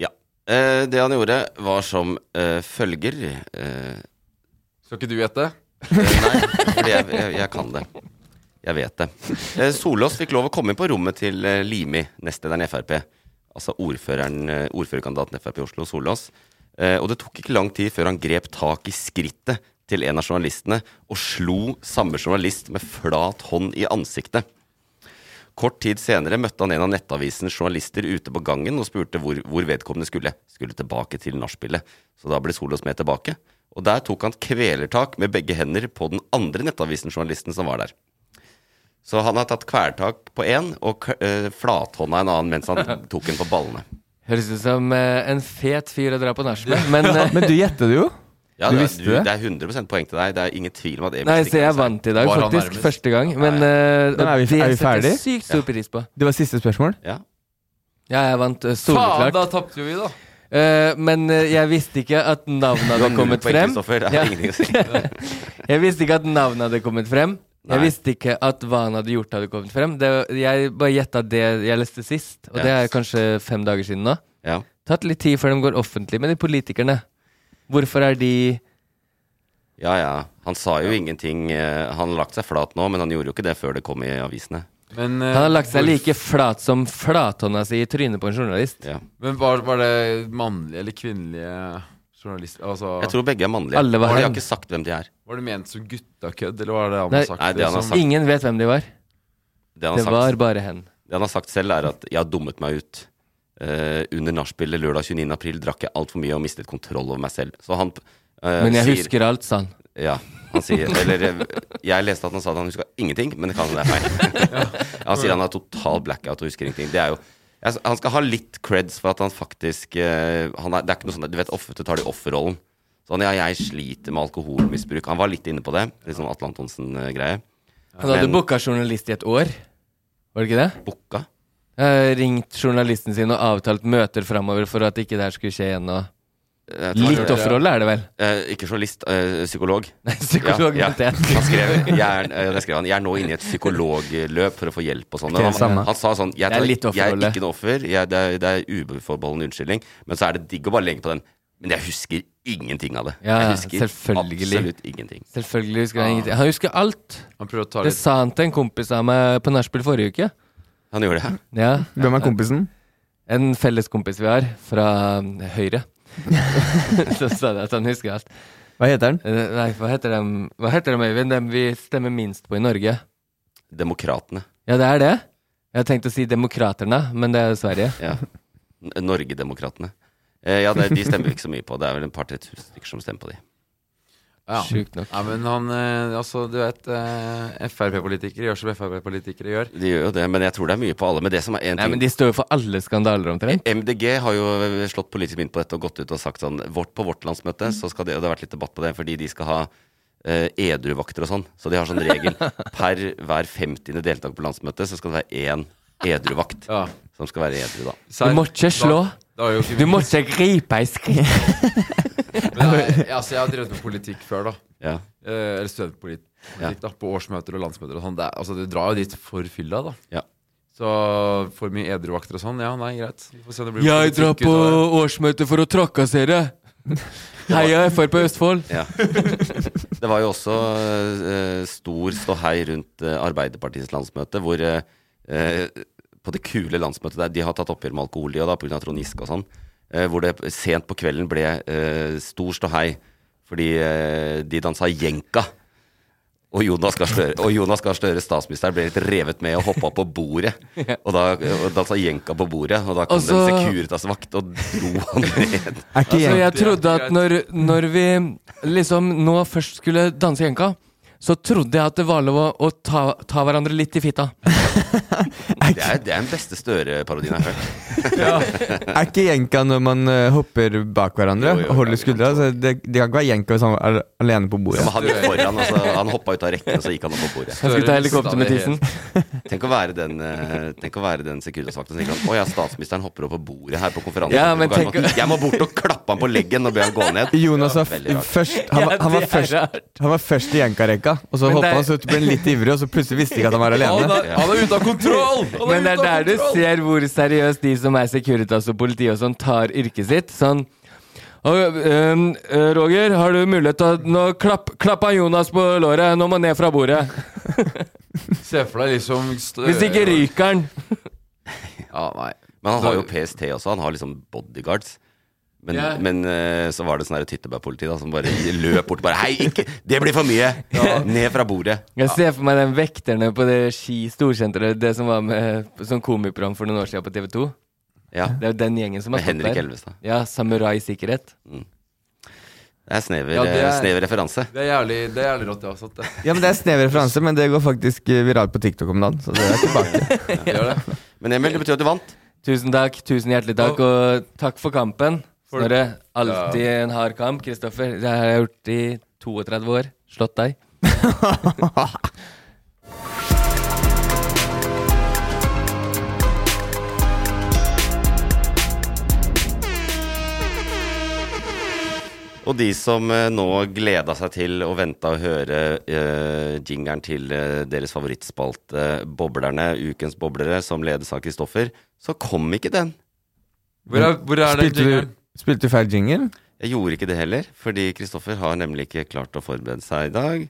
[SPEAKER 3] Ja. Eh, det han gjorde, var som eh, følger eh,
[SPEAKER 4] Skal ikke du gjette?
[SPEAKER 3] Nei, fordi jeg, jeg, jeg kan det. Jeg vet det. Eh, Solås fikk lov å komme inn på rommet til eh, Limi, nestlederen i Frp. Altså ordføreren, eh, ordførerkandidaten i Frp i Oslo, Solås. Eh, og det tok ikke lang tid før han grep tak i skrittet til en av journalistene og slo samme journalist med flat hånd i ansiktet. Kort tid senere møtte han en av nettavisens journalister ute på gangen og spurte hvor, hvor vedkommende skulle. Skulle tilbake til nachspielet. Så da ble Solås med tilbake. Og der tok han kvelertak med begge hender på den andre nettavisen-journalisten som var der. Så han har tatt kvelertak på én og k eh, flathånda en annen mens han tok den på ballene.
[SPEAKER 5] Høres ut som eh, en fet fyr å dra på nach med, men eh,
[SPEAKER 2] Men du gjettet det jo.
[SPEAKER 3] Ja,
[SPEAKER 2] Du
[SPEAKER 3] det,
[SPEAKER 2] visste
[SPEAKER 3] er- du,
[SPEAKER 2] det?
[SPEAKER 3] det er 100 poeng til deg. Det er ingen tvil om at Emil
[SPEAKER 5] Nei,
[SPEAKER 3] stikker
[SPEAKER 5] så jeg
[SPEAKER 3] seg.
[SPEAKER 5] vant i dag,
[SPEAKER 4] Var han
[SPEAKER 5] faktisk.
[SPEAKER 4] nærmest?
[SPEAKER 5] Første gang. Men eh, og
[SPEAKER 2] Men er vi-
[SPEAKER 5] det
[SPEAKER 2] er vi
[SPEAKER 5] setter
[SPEAKER 2] ferdig?
[SPEAKER 5] jeg sykt stor pris på.
[SPEAKER 2] Det var siste spørsmål.
[SPEAKER 3] Ja.
[SPEAKER 5] Ja, jeg vant eh,
[SPEAKER 4] Faen,
[SPEAKER 5] soleklart.
[SPEAKER 4] da tapte jo vi, da!
[SPEAKER 5] Eh, men eh, jeg visste ikke at navnet
[SPEAKER 3] Du
[SPEAKER 5] hadde
[SPEAKER 3] har null
[SPEAKER 5] kommet
[SPEAKER 3] poeng,
[SPEAKER 5] frem.
[SPEAKER 3] Kristoffer. Det er
[SPEAKER 5] Ja.
[SPEAKER 3] ingenting å si.
[SPEAKER 5] Jeg visste ikke at navnet hadde kommet frem. Jeg
[SPEAKER 3] Nei.
[SPEAKER 5] visste ikke at hva han hadde gjort, hadde kommet frem. Det, jeg bare gjetta det jeg leste sist, og det
[SPEAKER 3] Ja.
[SPEAKER 5] er kanskje fem dager siden nå.
[SPEAKER 3] Ja.
[SPEAKER 5] Tatt litt tid før de går offentlig med de politikerne. Hvorfor er de
[SPEAKER 3] ja ja. Han sa jo ingenting. eh, Han har lagt seg flat nå, men han gjorde jo ikke det før det kom i avisene.
[SPEAKER 4] Men, eh,
[SPEAKER 5] Han har lagt seg
[SPEAKER 4] hvor-
[SPEAKER 5] like flat som flathånda si i trynet på en journalist.
[SPEAKER 3] Ja.
[SPEAKER 4] Men var, var det mannlige eller kvinnelige journalister? Altså,
[SPEAKER 3] Jeg tror begge er mannlige.
[SPEAKER 5] Alle var
[SPEAKER 3] Og de har
[SPEAKER 5] hen.
[SPEAKER 3] ikke sagt hvem de er.
[SPEAKER 4] Var det ment som guttakødd, eller var det han
[SPEAKER 5] Nei.
[SPEAKER 4] sagt?
[SPEAKER 3] Nei, det han har
[SPEAKER 4] som-
[SPEAKER 3] sagt.
[SPEAKER 5] Ingen vet hvem de var.
[SPEAKER 3] Det han, har
[SPEAKER 5] Det
[SPEAKER 3] sagt,
[SPEAKER 5] var bare hen.
[SPEAKER 3] det han har sagt selv, er at 'jeg har dummet meg ut'. Eh, under nachspielet lørdag 29. april drakk jeg altfor mye og mistet kontroll over meg selv. Så han eh,
[SPEAKER 5] Men jeg
[SPEAKER 3] sier,
[SPEAKER 5] husker alt, sa han.
[SPEAKER 3] Ja, han sier Eller eh, jeg leste at han sa at han huska ingenting, men det kan hende det er feil. han sier han har total blackout og husker ingenting. Det er jo altså, jeg, Han skal ha litt creds for at han faktisk eh, han er, Det er ikke noe sånn at- Du vet, ofte tar de offerrollen. Sånn, ja, jeg sliter med alkoholmisbruk. Han var litt inne på det. Litt sånn Atle Antonsen-greie.
[SPEAKER 5] Han hadde
[SPEAKER 3] Men-
[SPEAKER 5] booka journalist i et år, var det ikke det?
[SPEAKER 3] Bukka.
[SPEAKER 5] Eh, ringt journalisten sin og avtalt møter framover for at ikke det her skulle skje igjen. Og...
[SPEAKER 3] Jeg tror han
[SPEAKER 5] Litt
[SPEAKER 3] gjorde Eh, det.
[SPEAKER 5] offerrolle er det vel?
[SPEAKER 3] Eh, ikke journalist, eh, psykolog.
[SPEAKER 5] Nei, psykolog.
[SPEAKER 3] Ja,
[SPEAKER 5] mente
[SPEAKER 3] ja.
[SPEAKER 5] jeg.
[SPEAKER 3] Han skrev, jeg er, eh, det skrev han, jeg er nå inne i et psykologløp for å få hjelp og sånn.
[SPEAKER 2] Ok,
[SPEAKER 3] Han,
[SPEAKER 2] samme.
[SPEAKER 3] han sa sånn, jeg,
[SPEAKER 5] Det er
[SPEAKER 3] tar,
[SPEAKER 5] litt
[SPEAKER 3] jeg er
[SPEAKER 5] offerrolle.
[SPEAKER 3] ikke noe offer, jeg, det, er, det er ubeforbeholden unnskyldning. Men så er det digg å bare legge på den. Men jeg husker ingenting av det.
[SPEAKER 5] Ja,
[SPEAKER 3] jeg husker
[SPEAKER 5] selvfølgelig.
[SPEAKER 3] absolutt ingenting.
[SPEAKER 5] Selvfølgelig husker han ingenting. Han husker alt!
[SPEAKER 4] Han prøver å ta
[SPEAKER 5] Det
[SPEAKER 4] litt
[SPEAKER 5] sa han til en kompis av meg på nachspiel forrige uke.
[SPEAKER 3] Han gjorde det.
[SPEAKER 5] Ja,
[SPEAKER 2] Hvem er kompisen?
[SPEAKER 5] En felles kompis vi har, fra mm, Høyre. Så sa det at han husker alt.
[SPEAKER 2] Hva heter han?
[SPEAKER 5] Eh, Nei, hva heter dem, hva heter dem Øyvind? Dem vi stemmer minst på i Norge.
[SPEAKER 3] Demokratene.
[SPEAKER 5] Ja, det er det. Jeg har tenkt å si Demokraterne, men det er jo Sverige.
[SPEAKER 3] Ja. N- Norgedemokratene. Eh, ja, det, de stemmer vi ikke så mye på. Det er vel en par-tre tusen stykker som stemmer på de.
[SPEAKER 4] ja.
[SPEAKER 5] Sjukt nok.
[SPEAKER 4] Ja, men han eh, Altså, du vet eh, Frp-politikere gjør som Frp-politikere gjør.
[SPEAKER 3] De gjør jo det, men jeg tror det er mye på alle. Men det som er en
[SPEAKER 5] Nei,
[SPEAKER 3] ting
[SPEAKER 5] men de står jo for alle skandaler omtrent.
[SPEAKER 3] MDG har jo slått politisk mynt på dette og gått ut og sagt sånn vårt, På vårt landsmøte så skal det Og det har vært litt debatt på det, fordi de skal ha eh, edruvakter og sånn. Så de har sånn regel per hver femtiende deltaker på landsmøtet, så skal det være én edruvakt
[SPEAKER 4] Ja.
[SPEAKER 3] som skal være edru, da.
[SPEAKER 5] Du må ikke slå.
[SPEAKER 4] Da, da er jo ikke
[SPEAKER 5] Du må ikke gripe ei skritt.
[SPEAKER 4] Men jeg, altså, jeg har drevet med politikk før, da.
[SPEAKER 3] Ja.
[SPEAKER 4] Eh, eller studentpolitikk, da. På årsmøter og landsmøter og sånn. Det er- Altså, du drar jo dit for fylla, da.
[SPEAKER 3] Ja.
[SPEAKER 4] Så for mye edruvakter og sånn, ja, nei, greit. Vi får se om det blir
[SPEAKER 5] Jeg drar
[SPEAKER 4] politikk ut
[SPEAKER 5] på
[SPEAKER 4] av
[SPEAKER 5] årsmøte for å trakassere. Heia Frp Østfold.
[SPEAKER 3] ja. Det var jo også eh, stor ståhei rundt eh, Arbeiderpartiets landsmøte, hvor eh, eh, på det kule landsmøtet der, de har tatt oppgjør med alkohol de òg, pga. Trond Giske og sånn, eh, hvor det sent på kvelden ble eh, stor ståhei fordi eh, de dansa jenka. Og Jonas Gahr Støre, og Jonas Gahr Støre, statsministeren, ble litt revet med og hoppa på bordet. Og da og dansa jenka på bordet, og da kom det
[SPEAKER 5] Altså-
[SPEAKER 3] en Securitas-vakt og dro han ned.
[SPEAKER 2] Er ikke
[SPEAKER 5] Så
[SPEAKER 2] Altså, jeg
[SPEAKER 5] jeg trodde at når, når vi liksom nå først skulle danse jenka, så trodde jeg at det var lov å- å ta, ta hverandre litt i fitta.
[SPEAKER 3] Det er, det er den beste Støre-parodien jeg har hørt.
[SPEAKER 2] Er ikke jenka når man eh, hopper bak hverandre
[SPEAKER 3] Jo, jo,
[SPEAKER 2] og holder
[SPEAKER 3] det er
[SPEAKER 2] skuldra? Så det, det kan ikke være jenka hvis han er alene på
[SPEAKER 3] Ja,
[SPEAKER 2] bordet.
[SPEAKER 3] men han gikk foran, altså, han hoppa ut av rekken, og så gikk han opp på bordet.
[SPEAKER 5] Jeg skulle ta helikopter med tissen.
[SPEAKER 3] Tenk å være den, eh, tenk å være den Securitas-vakten som tenker sånn Å ja, statsministeren hopper opp på bordet her på konferansen.
[SPEAKER 5] Ja, men tenk å-
[SPEAKER 3] Jeg må bort og klappe han på leggen og be han gå ned.
[SPEAKER 2] Jonas var,
[SPEAKER 3] veldig rart.
[SPEAKER 2] f først, han, var- han, var
[SPEAKER 5] det er
[SPEAKER 2] først,
[SPEAKER 5] rart.
[SPEAKER 2] han var først i jenkarekka, og så
[SPEAKER 5] Men det
[SPEAKER 2] hoppa
[SPEAKER 5] er-
[SPEAKER 2] han, så ble han litt ivrig, og så plutselig visste ikke at han var
[SPEAKER 4] det. Han
[SPEAKER 2] alene.
[SPEAKER 4] er, han er ute av kontroll! Han
[SPEAKER 5] Men det er
[SPEAKER 4] ute av
[SPEAKER 5] der du
[SPEAKER 4] kontroll!
[SPEAKER 5] ser hvor seriøst de som er Securitas og politi og sånn, tar yrket sitt. Sånn «Å, øhm, øh, Roger, har du mulighet til å nå klapp, klapp av Jonas på låret? Nå må han ned fra bordet.
[SPEAKER 4] Se for deg liksom Støre-
[SPEAKER 5] Hvis ikke ryker han.
[SPEAKER 4] Ja, nei.
[SPEAKER 3] Men han har jo PST også, han har liksom bodyguards. Men,
[SPEAKER 5] Ja.
[SPEAKER 3] men eh, så var det sånn her Tyttebær-politi da, som bare løp bort og bare Hei, ikke! Det blir for mye! Ned fra bordet.
[SPEAKER 5] Jeg ser for meg den vekterne på det Ski storsenteret, det som var med som komiprogram for noen år siden på TV2.
[SPEAKER 3] Ja.
[SPEAKER 5] Det er jo den gjengen som har stått
[SPEAKER 3] Henrik
[SPEAKER 5] der.
[SPEAKER 3] Elvestad.
[SPEAKER 5] Ja, Samurai Sikkerhet.
[SPEAKER 3] Det er snever,
[SPEAKER 4] Ja, det er-
[SPEAKER 3] eh, snever referanse.
[SPEAKER 4] Det er jævlig, det er jævlig rått, ja. Så at det,
[SPEAKER 2] Ja, men Det er snev referanse, men det går faktisk eh, viralt på TikTok om dagen. Så det er tilbake.
[SPEAKER 4] det gjør det.
[SPEAKER 3] Men Emil, det betyr at du vant.
[SPEAKER 5] Tusen takk, tusen hjertelig takk, og takk for kampen.
[SPEAKER 4] For-
[SPEAKER 5] Snorre, alltid en hard kamp. Kristoffer, det har jeg gjort i 32 år. Slått deg.
[SPEAKER 3] Og de som eh, nå gleda seg til og venta å høre eh, jingeren til eh, deres favorittspalte eh, Boblerne, Ukens boblere, som ledes av Kristoffer, så kom ikke den.
[SPEAKER 4] Hvor er, hvor er den
[SPEAKER 2] Spilte
[SPEAKER 4] jingeren?
[SPEAKER 2] du, spilte du feil jingle?
[SPEAKER 3] Jeg gjorde ikke det heller, fordi Kristoffer har nemlig ikke klart å forberede seg i dag.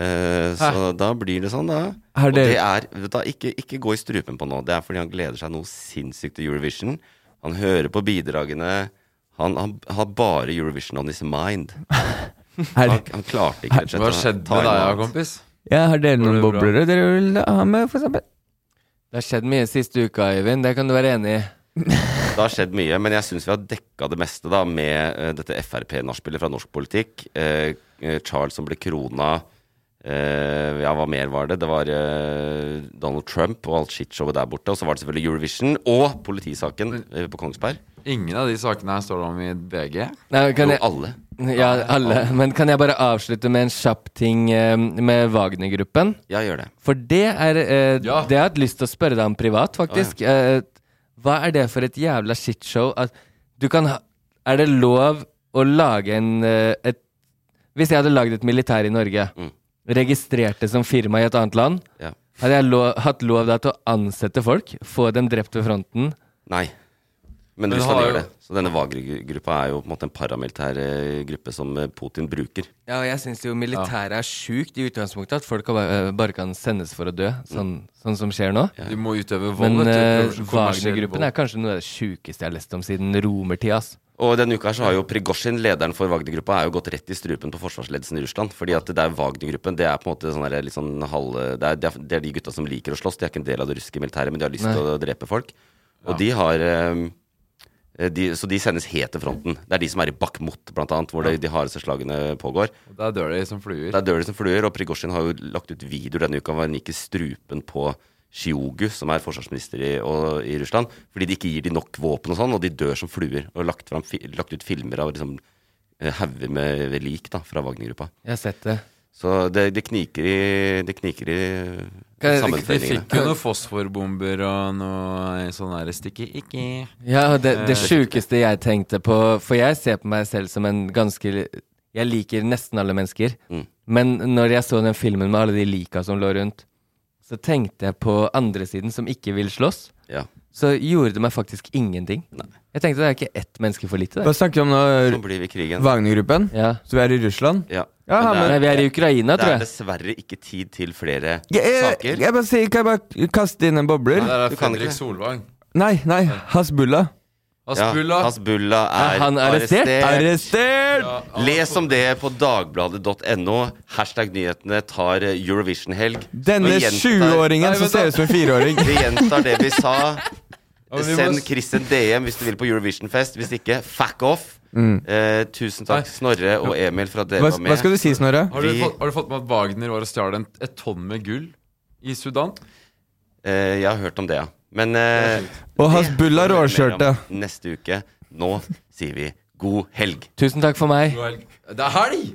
[SPEAKER 3] Eh, så da blir det sånn, da.
[SPEAKER 2] Har
[SPEAKER 3] Og det
[SPEAKER 2] dere-
[SPEAKER 3] er, vet du hva, ikke, ikke gå i strupen på nå. Det er fordi han gleder seg noe sinnssykt til Eurovision. Han hører på bidragene. Han, han har bare Eurovision on his mind.
[SPEAKER 2] Er,
[SPEAKER 3] Han, han klarte ikke rett og slett
[SPEAKER 4] Hva
[SPEAKER 3] å
[SPEAKER 4] skjedde
[SPEAKER 3] ta inn
[SPEAKER 4] med deg,
[SPEAKER 3] noe
[SPEAKER 4] ja,
[SPEAKER 3] annet.
[SPEAKER 4] kompis?
[SPEAKER 2] ja, har dere noen
[SPEAKER 4] det bra?
[SPEAKER 2] boblere dere vil ha med, for eksempel?
[SPEAKER 5] Det har skjedd mye siste uka, Øyvind. Det kan du være enig i.
[SPEAKER 3] Det har skjedd mye, men jeg syns vi har dekka det meste da med eh, dette Frp-nachspielet fra norsk politikk. Eh, eh, Charles som ble krona. Eh, ja, hva mer var det? Det var eh, Donald Trump og alt shitshowet der borte. Og så var det selvfølgelig Eurovision og politisaken eh, på Kongsberg.
[SPEAKER 4] Ingen av de sakene her står det om i VG.
[SPEAKER 5] Nei, men kan
[SPEAKER 3] Jo,
[SPEAKER 5] jeg,
[SPEAKER 3] alle.
[SPEAKER 5] ja, alle. Men kan jeg bare avslutte med en kjapp ting eh, med Wagner-gruppen?
[SPEAKER 3] Ja, gjør det.
[SPEAKER 5] For det er eh,
[SPEAKER 4] Ja.
[SPEAKER 5] Det jeg har hatt lyst til å spørre deg om privat, faktisk. Eh, hva er det for et jævla shitshow at du kan ha Er det lov å lage en eh, et, Hvis jeg hadde lagd et militær i Norge,
[SPEAKER 3] Mm.
[SPEAKER 5] registrert det som firma i et annet land,
[SPEAKER 3] Ja.
[SPEAKER 5] hadde jeg lo, hatt lov da til å ansette folk? Få dem drept ved fronten?
[SPEAKER 3] Nei. Men,
[SPEAKER 4] Men
[SPEAKER 3] Russland
[SPEAKER 4] har
[SPEAKER 3] gjør
[SPEAKER 4] jo-
[SPEAKER 3] det. Så denne Wagner-gruppa er jo på en måte en paramilitær eh, gruppe som eh, Putin bruker.
[SPEAKER 5] Ja, og jeg syns jo militæret er sjukt i utgangspunktet. At folk bare, bare kan sendes for å dø, sånn, sånn som skjer nå.
[SPEAKER 4] De må utøve vold.
[SPEAKER 3] eh,
[SPEAKER 5] Men
[SPEAKER 4] vet
[SPEAKER 5] uh,
[SPEAKER 4] du, kommersiell
[SPEAKER 5] Wagner-gruppen
[SPEAKER 4] vold.
[SPEAKER 5] er kanskje noe av det sjukeste jeg har lest om siden romertida. ass.
[SPEAKER 3] Og denne uka her så har jo Prigozjin, lederen for Wagner-gruppa, er jo gått rett i strupen på forsvarsledelsen i Russland. Fordi at det er Wagner-gruppen, det er på en måte sånn der litt sånn halv det er, det er- det er de gutta som liker å slåss. De er ikke en del av det russiske militæret, men de har lyst til å drepe folk. Og de har ehm, eh, de, Så de sendes helt til fronten. Det er de som er i Bakhmut, blant annet, hvor de, de hardeste slagene pågår.
[SPEAKER 4] Og Der dør de som fluer.
[SPEAKER 3] Det er døler som fluer, og Prigozjin har jo lagt ut videoer denne uka hvor han gikk i strupen på Shiogu, som er forsvarsminister i, og, i Russland, fordi de ikke gir de nok våpen og sånn, og de dør som fluer. Og lagt, fram, fi- lagt ut filmer av liksom eh, hauger med lik da, fra Wagner-gruppa.
[SPEAKER 5] Jeg har sett det.
[SPEAKER 3] Så det, det kniker i, det kniker i
[SPEAKER 5] Kan jeg-
[SPEAKER 4] De
[SPEAKER 3] sammenføyningene.
[SPEAKER 4] fikk jo noen fosforbomber og noe sånn der stikke ikke
[SPEAKER 5] Ja, og
[SPEAKER 3] Eh,
[SPEAKER 5] det, det sjukeste jeg tenkte på For jeg ser på meg selv som en ganske Jeg liker nesten alle mennesker.
[SPEAKER 3] Mm.
[SPEAKER 5] Men når jeg så den filmen med alle de lika som lå rundt, så tenkte jeg på andre siden, som ikke vil slåss.
[SPEAKER 3] Ja,
[SPEAKER 5] Så gjorde det meg faktisk ingenting.
[SPEAKER 3] Nei.
[SPEAKER 5] Jeg tenkte det er ikke ett menneske for lite.
[SPEAKER 2] Hva
[SPEAKER 5] Det.
[SPEAKER 2] snakker vi om nå? eh,
[SPEAKER 3] sånn blir vi i krigen.
[SPEAKER 2] Wagner-gruppen?
[SPEAKER 5] Ja.
[SPEAKER 2] Så vi er i Russland?
[SPEAKER 3] Ja,
[SPEAKER 2] Ja,
[SPEAKER 3] det
[SPEAKER 2] men
[SPEAKER 5] Nei, vi er i Ukraina,
[SPEAKER 3] det
[SPEAKER 5] tror
[SPEAKER 3] er
[SPEAKER 5] jeg.
[SPEAKER 3] dessverre ikke tid til flere
[SPEAKER 2] Jeg, jeg, eh, jeg,
[SPEAKER 3] saker.
[SPEAKER 2] bare sier, kan jeg bare kaste inn en bobler?
[SPEAKER 4] Nei, Der
[SPEAKER 3] Du kan
[SPEAKER 4] er
[SPEAKER 3] ikke
[SPEAKER 4] Fredrik
[SPEAKER 3] det.
[SPEAKER 4] Solvang.
[SPEAKER 2] Nei, nei, Hasbullah.
[SPEAKER 4] Aspulla.
[SPEAKER 3] Ja, Hasbullah er,
[SPEAKER 5] Er han arrestert?
[SPEAKER 2] Arrestert!
[SPEAKER 4] Ja, han-
[SPEAKER 3] Les om det på dagbladet.no. Hashtag nyhetene tar Eurovision-helg.
[SPEAKER 2] Denne
[SPEAKER 3] Og gjentar- sånn-
[SPEAKER 2] sjuåringen som ser ut som en fireåring.
[SPEAKER 3] Vi gjentar det vi sa.
[SPEAKER 4] Ja, men vi må-
[SPEAKER 3] Send Chris en DM hvis du vil på Eurovision-fest. Hvis ikke, fuck off. Eh, tusen takk, Snorre og Emil, for at dere
[SPEAKER 2] Mm. Hva,
[SPEAKER 3] var med.
[SPEAKER 2] hva skal du si, Snorre?
[SPEAKER 4] Har du,
[SPEAKER 3] Vi-
[SPEAKER 4] fått, har du fått med at Wagner var og stjal en- et tonn med gull i Sudan?
[SPEAKER 3] Eh, jeg har hørt om det, ja. Men eh,
[SPEAKER 2] Og
[SPEAKER 3] det får
[SPEAKER 2] Hasbullah
[SPEAKER 3] vi høre mer om
[SPEAKER 2] råskjørte.
[SPEAKER 3] Neste uke. Nå sier vi god helg.
[SPEAKER 5] Tusen takk for meg.
[SPEAKER 4] Det er helg!